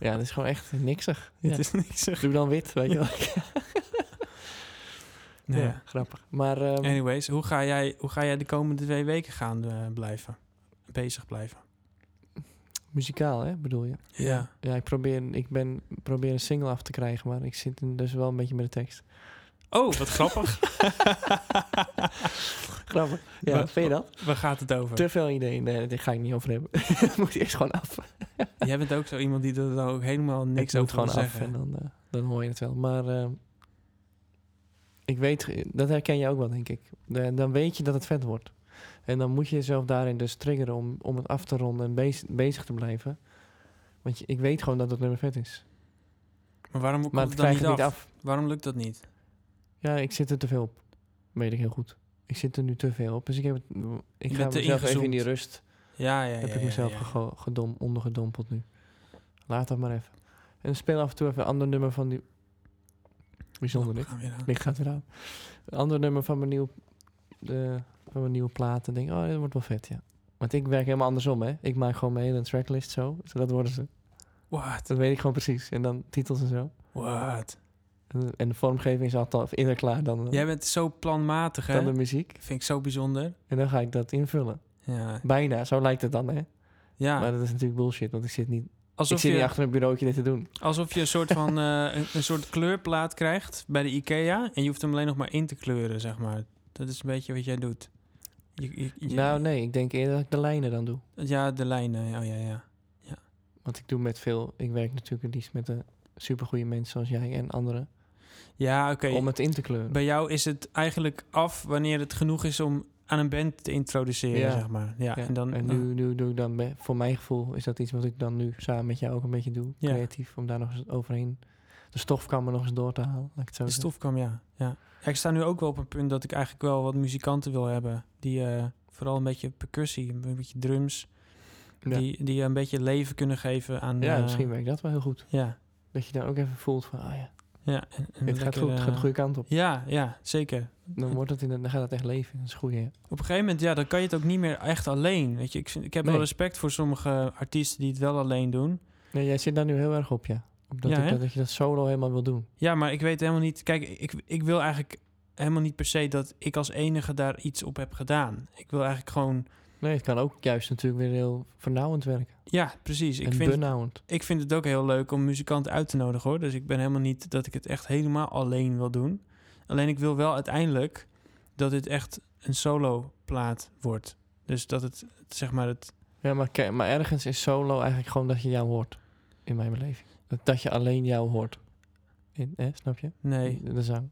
Ja, dat is gewoon echt niksig. Ja. Het is niks zeg. Doe dan wit, weet je wel. Nou Ja, ja. grappig. Maar ehm, Anyways, hoe ga, jij, hoe ga jij de komende twee weken gaan eh, blijven? Bezig blijven? muzikaal, hè, bedoel je? Ja. Ja, ik probeer, ik ben, probeer een single af te krijgen, maar ik zit in- dus wel een beetje met de tekst. Oh, wat grappig. Grappig. Ja, Wat- vind je dat? Waar gaat het over? Te veel ideeën. Nee, daar ga ik niet over hebben. dat moet eerst gewoon af. Jij bent ook zo iemand die er dan ook helemaal niks ik moet over gewoon wil af zeggen. en dan, eh, dan hoor je het wel. Maar ehm, ik weet, dat herken je ook wel, denk ik. Da- dan weet je dat het vet wordt. En dan moet je jezelf daarin dus triggeren om, om het af te ronden en bez- bezig te blijven. Want je- ik weet gewoon dat het nummer vet is. Maar waarom komt Maar het het dan krijg niet ik af? niet af. Waarom lukt dat niet? Ja, ik zit er te veel op. Weet ik heel goed. Ik zit er nu te veel op. Dus ik heb het. Ik bent ga te mezelf even in die ingezoomd. rust. Ja, ja, ja. heb ik ja, mezelf ja. gego- gedom, ondergedompeld nu. Laat dat maar even. En speel af en toe even een ander nummer van die... Bijzonder, Nick. Gaan we weer aan. Nick gaat weer aan. Een ander nummer van mijn nieuwe, de, van mijn nieuwe plaat. En denk, oh, dit wordt wel vet, ja. Want ik werk helemaal andersom, hè. Ik maak gewoon mijn hele tracklist zo. Dus dat worden ze. What? Dat weet ik gewoon precies. En dan titels en zo. What? En, en de vormgeving is altijd al eerder klaar dan, Jij bent zo planmatig, hè? dan de muziek. Vind ik zo bijzonder. En dan ga ik dat invullen. Ja. Bijna, zo lijkt het dan, hè. ja. Maar dat is natuurlijk bullshit, want ik zit niet, ik Ah. alsof, zit niet je, achter een bureautje dit te doen. alsof je een soort van eh, een, een soort kleurplaat krijgt bij de IKEA. En je hoeft hem alleen nog maar in te kleuren, zeg maar. Dat is een beetje wat jij doet. Je- je- je- Nou, nee, ik denk eerder dat ik de lijnen dan doe. Ja, de lijnen. Oh ja, ja. Want ik doe met veel, ik werk natuurlijk het liefst met de supergoeie mensen zoals jij en anderen. Ja, oké. Om het in te kleuren. Bij jou is het eigenlijk af wanneer het genoeg is om aan een band te introduceren, Ja. zeg maar. Ja, Ja, en dan... ah. nu, nu doe ik dan, be- voor mijn gevoel, is dat iets wat ik dan nu samen met jou ook een beetje doe. Ja. Creatief, om daar nog eens overheen de stofkamer nog eens door te halen. Laat ik het zo De zeggen. stof kwam, ja. ja. Ja, Ik sta nu ook wel op een punt dat ik eigenlijk wel wat muzikanten wil hebben. Die eh, vooral een beetje percussie, een beetje drums. Ja. Die, die een beetje leven kunnen geven aan... Ja, eh, misschien werkt dat wel heel goed. Ja, Dat je daar ook even voelt van, ah ja, ja. En, en dit gaat lekker, goed, het gaat de eh, goede kant op. Ja, ja, zeker. Dan, wordt het in, dan gaat het echt leven, dat is goed, ja. Op een gegeven moment, ja, dan kan je het ook niet meer echt alleen. Weet je, ik, vind- ik heb wel Nee. respect voor sommige artiesten die het wel alleen doen. Nee, jij zit daar nu heel erg op, ja. Op dat, Ja, ik- hè? dat, dat je dat solo helemaal wil doen. Ja, maar ik weet helemaal niet. Kijk, ik, ik wil eigenlijk helemaal niet per se dat ik als enige daar iets op heb gedaan. Ik wil eigenlijk gewoon. Nee, het kan ook juist natuurlijk weer heel vernauwend werken. Ja, precies. Ik en vind, benauwend. ik vind het ook heel leuk om muzikanten uit te nodigen hoor. Dus ik ben helemaal niet dat ik het echt helemaal alleen wil doen. Alleen ik wil wel uiteindelijk dat dit echt een solo plaat wordt. Dus dat het, zeg maar, het. Ja, maar, ke- maar ergens is solo eigenlijk gewoon dat je jou hoort. In mijn beleving. Dat, dat je alleen jou hoort. In, hè, snap je? Nee. De zang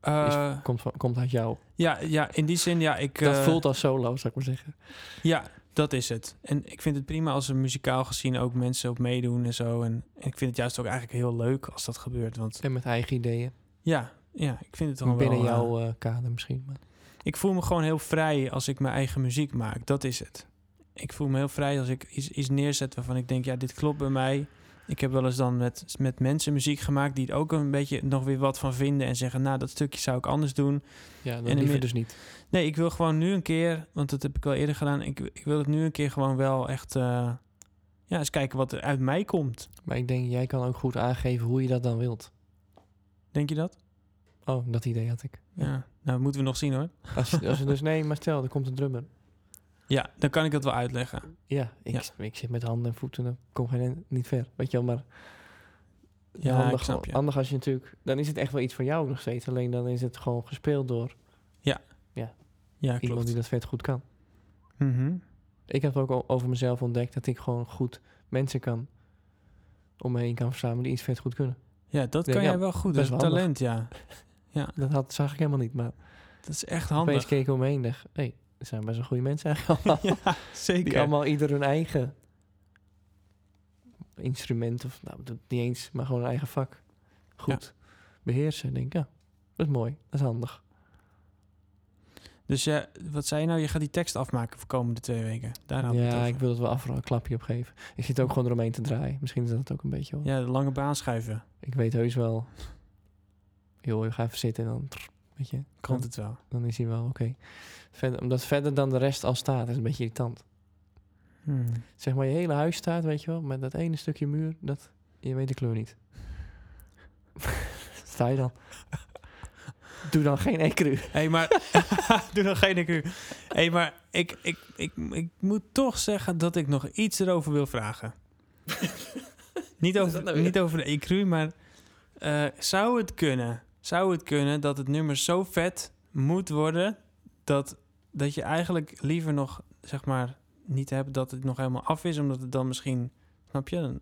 Eh, komt, van, komt uit jou. ja, ja, in die zin, ja, ik. dat eh, voelt als solo, zou ik maar zeggen. Ja, dat is het. En ik vind het prima als er muzikaal gezien ook mensen op meedoen en zo. En, en ik vind het juist ook eigenlijk heel leuk als dat gebeurt. Want En met eigen ideeën. ja, ja ik vind het dan binnen wel... eh, jouw eh, kader misschien. Maar. ik voel me gewoon heel vrij als ik mijn eigen muziek maak. Dat is het. Ik voel me heel vrij als ik iets, iets neerzet waarvan ik denk... ja, dit klopt bij mij. Ik heb wel eens dan met, met mensen muziek gemaakt... die er ook een beetje nog weer wat van vinden... en zeggen, nou, dat stukje zou ik anders doen. Ja, dat in liever mid- dus niet. Nee, ik wil gewoon nu een keer, want dat heb ik wel eerder gedaan. Ik, ik wil het nu een keer gewoon wel echt. eh, ja, eens kijken wat er uit mij komt. Maar ik denk, jij kan ook goed aangeven hoe je dat dan wilt. Denk je dat? Oh, dat idee had ik. Ja. Nou, moeten we nog zien hoor. Als, als er dus nee, maar stel, er komt een drummer. Ja, dan kan ik dat wel uitleggen. Ja, ik, ik zit met handen en voeten, dan kom geen en- niet ver. Weet je wel, maar Ja, handig, ik snap je. handig als je natuurlijk... Dan is het echt wel iets van jou nog steeds. Alleen dan is het gewoon gespeeld door Ja, iemand klopt. die dat vet goed kan. Mhm. Ik heb ook al over mezelf ontdekt dat ik gewoon goed mensen kan... om me heen kan verzamelen die iets vet goed kunnen. Ja, dat Denk, kan ja, jij wel goed. Dat best is een wel talent, ja. Dat had, zag ik helemaal niet, maar Dat is echt opeens handig. keek ik om me heen en dacht... Hé, hey, er zijn best wel goede mensen eigenlijk allemaal. Ja, die zeker. allemaal ieder hun eigen instrument... of nou, dat niet eens, maar gewoon hun eigen vak goed beheersen. Ik denk, ja, dat is mooi, dat is handig. Dus ja, wat zei je nou? Je gaat die tekst afmaken voor komende twee weken. Daar hadden we het ja, over. ik wil het wel af een klapje opgeven. Ik zit ook gewoon eromheen te draaien. Misschien is dat het ook een beetje hoor. Ja, de lange baan schuiven. Ik weet heus wel. Joh, ik ga even zitten en dan. Weet je, Komt dan, het wel. dan is hij wel oké. Verder, omdat verder dan de rest al staat, is een beetje irritant. Hmm. Zeg maar, je hele huis staat, weet je wel, met dat ene stukje muur, dat, je weet de kleur niet. Sta je dan? Doe dan geen ecru. Hé, hey, maar... Doe nog geen IQ. Hé, hey, maar ik, ik, ik, ik moet toch zeggen dat ik nog iets erover wil vragen. niet, over, niet over de IQ, maar... eh, zou het kunnen... Zou het kunnen dat het nummer zo vet moet worden... dat, dat je eigenlijk liever nog, zeg maar... niet hebt dat het nog helemaal af is... omdat het dan misschien... Snap je? Dan-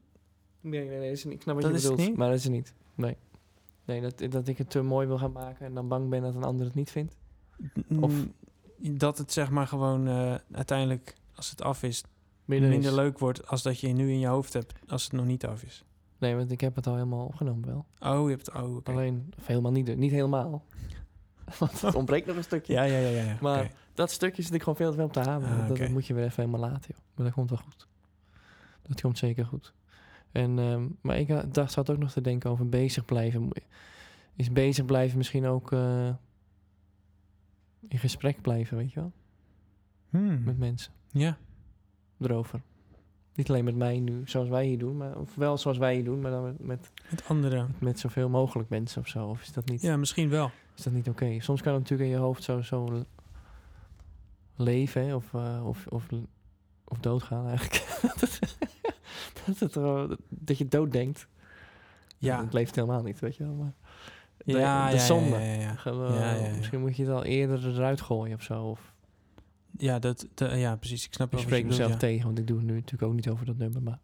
Nee, nee, nee, is niet. ik snap wat Dat je is het bedoelt, niet? maar dat is het niet. Nee. Nee, dat, dat ik het te mooi wil gaan maken en dan bang ben dat een ander het niet vindt. n- Of- Dat het zeg maar gewoon eh, uiteindelijk... als het af is... midden minder is. leuk wordt als dat je nu in je hoofd hebt als het nog niet af is. Nee, want ik heb het al helemaal opgenomen wel. Oh, je hebt oh, oké. Alleen, of helemaal niet, niet helemaal. Want het ontbreekt nog een stukje. Ja, ja, ja, ja. ja. Maar- oké. Dat stukje zit ik gewoon veel te veel op te halen. Ah, dat, dat oké. moet je weer even helemaal laten, joh. Maar dat komt wel goed. Dat komt zeker goed. En, ehm, maar ik had- dacht, zat ook nog te denken over bezig blijven. Mo- Is bezig blijven misschien ook eh, in gesprek blijven, weet je wel? Hmm, Met mensen Ja. erover. Niet alleen met mij nu, zoals wij hier doen. Maar, of wel zoals wij hier doen, maar dan met, met, Het andere. met zoveel mogelijk mensen of zo. Of is dat niet, Ja, misschien wel. is dat niet oké? Soms kan het natuurlijk in je hoofd zo, zo le- leven hè, of, eh, of, of, of doodgaan eigenlijk. dat, het- dat, het er- dat je dood denkt. Ja. Het leeft helemaal niet, weet je wel. Maar de, Ja, de ja, ja, zonde. ja, ja, ja. Gewoon, Ja, ja, ja. Misschien moet je het al eerder eruit gooien of zo. Of Ja, dat, de- ja, precies. Ik snap ik wel wat je spreek bedoelt, mezelf ja. tegen, want ik doe het nu natuurlijk ook niet over dat nummer. Maar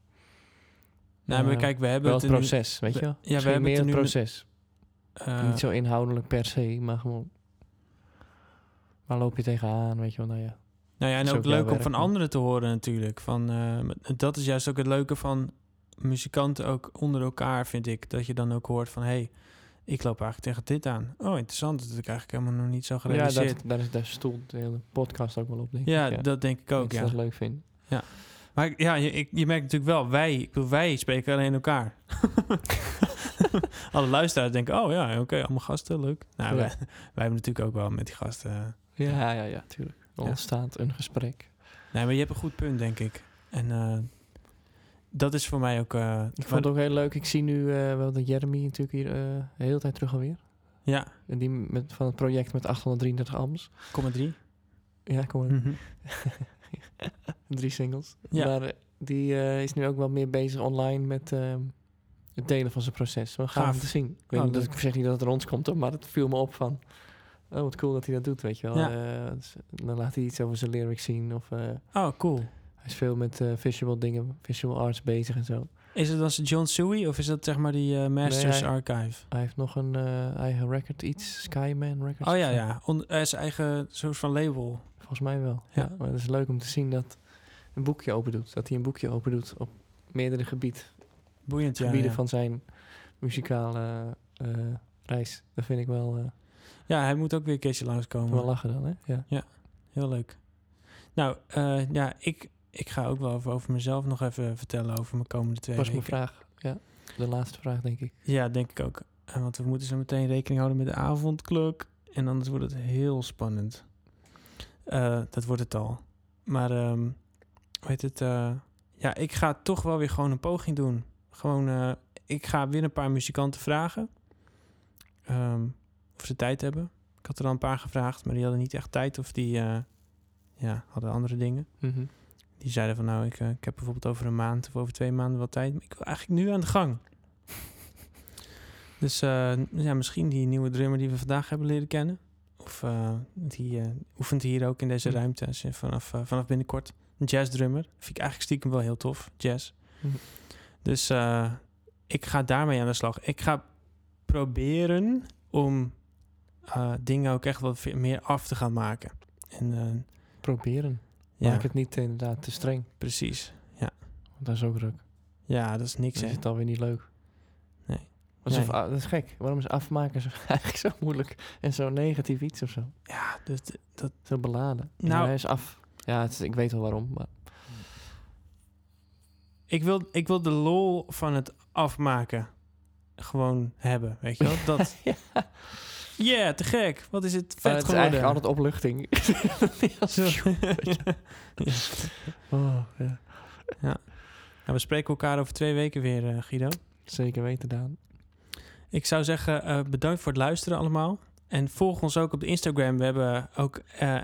Nou, maar Eh, kijk, we hebben wel het het er nu- proces, weet je wel. we- ja, we Misschien hebben het meer er het nu met- proces. eh, Niet zo inhoudelijk per se, maar gewoon... Waar loop je tegenaan, weet je wel. Nou ja, Nou ja, en is ook ook jouw leuk om werk, van hè? anderen te horen natuurlijk. Van, eh, maar dat is juist ook het leuke van muzikanten ook onder elkaar, vind ik. Dat je dan ook hoort van, hé, hey, ik loop eigenlijk tegen dit aan. Oh, interessant, dat heb ik eigenlijk helemaal nog niet zo ja gerealiseerd. Ja, daar, dat, daar, is, daar stond de hele podcast ook wel op, denk ik. denk ik ook, Mensen ja. dat leuk vinden. Maar ik- ja, je, ik- je merkt natuurlijk wel, wij, ik bedoel, wij spreken alleen elkaar. Alle luisteraars denken, oh ja, oké, allemaal gasten, leuk. Nou, Ja. wij, wij hebben natuurlijk ook wel met die gasten... eh, Ja, ja, ja, tuurlijk. Er Ja. ontstaat een gesprek. Nee, maar je hebt een goed punt, denk ik. En eh, dat is voor mij ook... eh, Ik waar- vond het ook heel leuk. Ik zie nu eh, wel dat Jeremy natuurlijk hier eh de hele tijd terug alweer. Ja, En die met, van het project met 833 amps. 0,3. Ja, kom maar. Mhm. Drie singles. Hm. Ja. Maar eh, die eh, is nu ook wel meer bezig online met ehm, het delen van zijn proces. We gaan Gaaf. het zien. Ik, weet Ah, niet, dat leuk. ik zeg niet dat het er ons komt, hoor, maar het viel me op van... Oh, wat cool dat hij dat doet, weet je wel. Ja. Eh, dus dan laat hij iets over zijn lyrics zien. Of eh, Oh, cool. hij is veel met eh, visual dingen, visual arts bezig en zo. Is het dan zijn John Suey of is dat zeg maar die eh, Masters hij- Archive? Hij heeft nog een eh, eigen record iets, Skyman Records. Oh of ja, zo. ja. On, eh, zijn eigen soort van label. Volgens mij wel. Ja. Ja. Maar het is leuk om te zien dat een boekje open doet. Dat hij een boekje open doet op meerdere gebied, Boeiend, ja. gebieden ja. van zijn muzikale eh, reis. Dat vind ik wel, eh, Ja, hij moet ook weer een keertje langskomen. wel lachen dan, hè? Ja. Heel leuk. Nou, eh, ja, ik, ik ga ook wel over, over mezelf nog even vertellen over mijn komende twee was mijn weken. vraag. Ja, de laatste vraag, denk ik. Ja, denk ik ook. Eh, Want we moeten zo meteen rekening houden met de avondklok. En anders wordt het heel spannend. Eh, dat wordt het al. Maar, ehm weet het... eh, ja, ik ga toch wel weer gewoon een poging doen. Gewoon, eh, ik ga weer een paar muzikanten vragen. ehm, of ze tijd hebben. Ik had er al een paar gevraagd, maar die hadden niet echt tijd. Of die eh, ja, hadden andere dingen. Mhm. Die zeiden van nou, ik, eh, ik heb bijvoorbeeld over een maand of over twee maanden wat tijd. Maar ik wil eigenlijk nu aan de gang. dus eh, ja, misschien die nieuwe drummer die we vandaag hebben leren kennen. Of eh, die eh, oefent hier ook in deze Hm. ruimte dus, eh, vanaf, eh, vanaf binnenkort. Een jazzdrummer. Vind ik eigenlijk stiekem wel heel tof, jazz. Hm. Dus eh, ik ga daarmee aan de slag. Ik ga proberen om eh, dingen ook echt wat meer af te gaan maken. En eh, Proberen. ja, Maak het niet inderdaad te streng. precies. Want dat is ook druk. Ja, dat is niks. Dan hè. is het alweer niet leuk. Nee. Alsof, Nee. ah, dat is gek. Waarom is afmaken zo, eigenlijk zo moeilijk en zo negatief iets of zo? Ja, dus d- dat, Zo beladen. Nou- Nou, hij is af. Ja, het is- ik weet wel waarom. Maar ik, wil, ik wil de lol van het afmaken gewoon hebben, weet je wel? Dat, Ja. yeah, te gek. Wat is het Maar vet het is geworden. eigenlijk altijd opluchting. Zo. oh, ja. Nou, we spreken elkaar over twee weken weer, eh, Guido. Zeker weten, Daan. Ik zou zeggen, eh, bedankt voor het luisteren allemaal. En volg ons ook op de Instagram. We hebben ook eh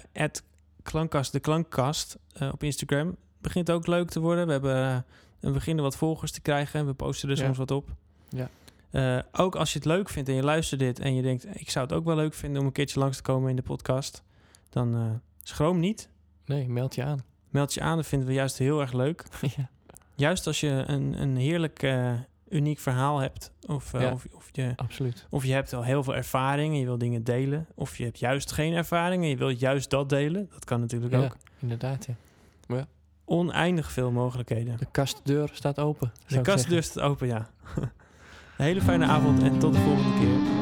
klankkast, de klankkast eh, op Instagram. begint ook leuk te worden. We, hebben, eh, we beginnen wat volgers te krijgen. We posten er Ja. soms wat op. Ja. Eh, ook als je het leuk vindt en je luistert dit en je denkt... ik zou het ook wel leuk vinden om een keertje langs te komen in de podcast... dan eh, schroom niet. Nee, meld je aan. Meld je aan, dat vinden we juist heel erg leuk. ja. Juist als je een, een heerlijk, eh, uniek verhaal hebt... Of, eh, Ja. of, of je... Absoluut. Of je hebt al heel veel ervaring en je wil dingen delen. Of je hebt juist geen ervaring en je wilt juist dat delen. Dat kan natuurlijk Ja, ook. inderdaad, ja. oneindig veel mogelijkheden. De kastdeur staat open. zou De dus ik kastdeur zeggen. staat open, ja. Een hele fijne avond en tot de volgende keer.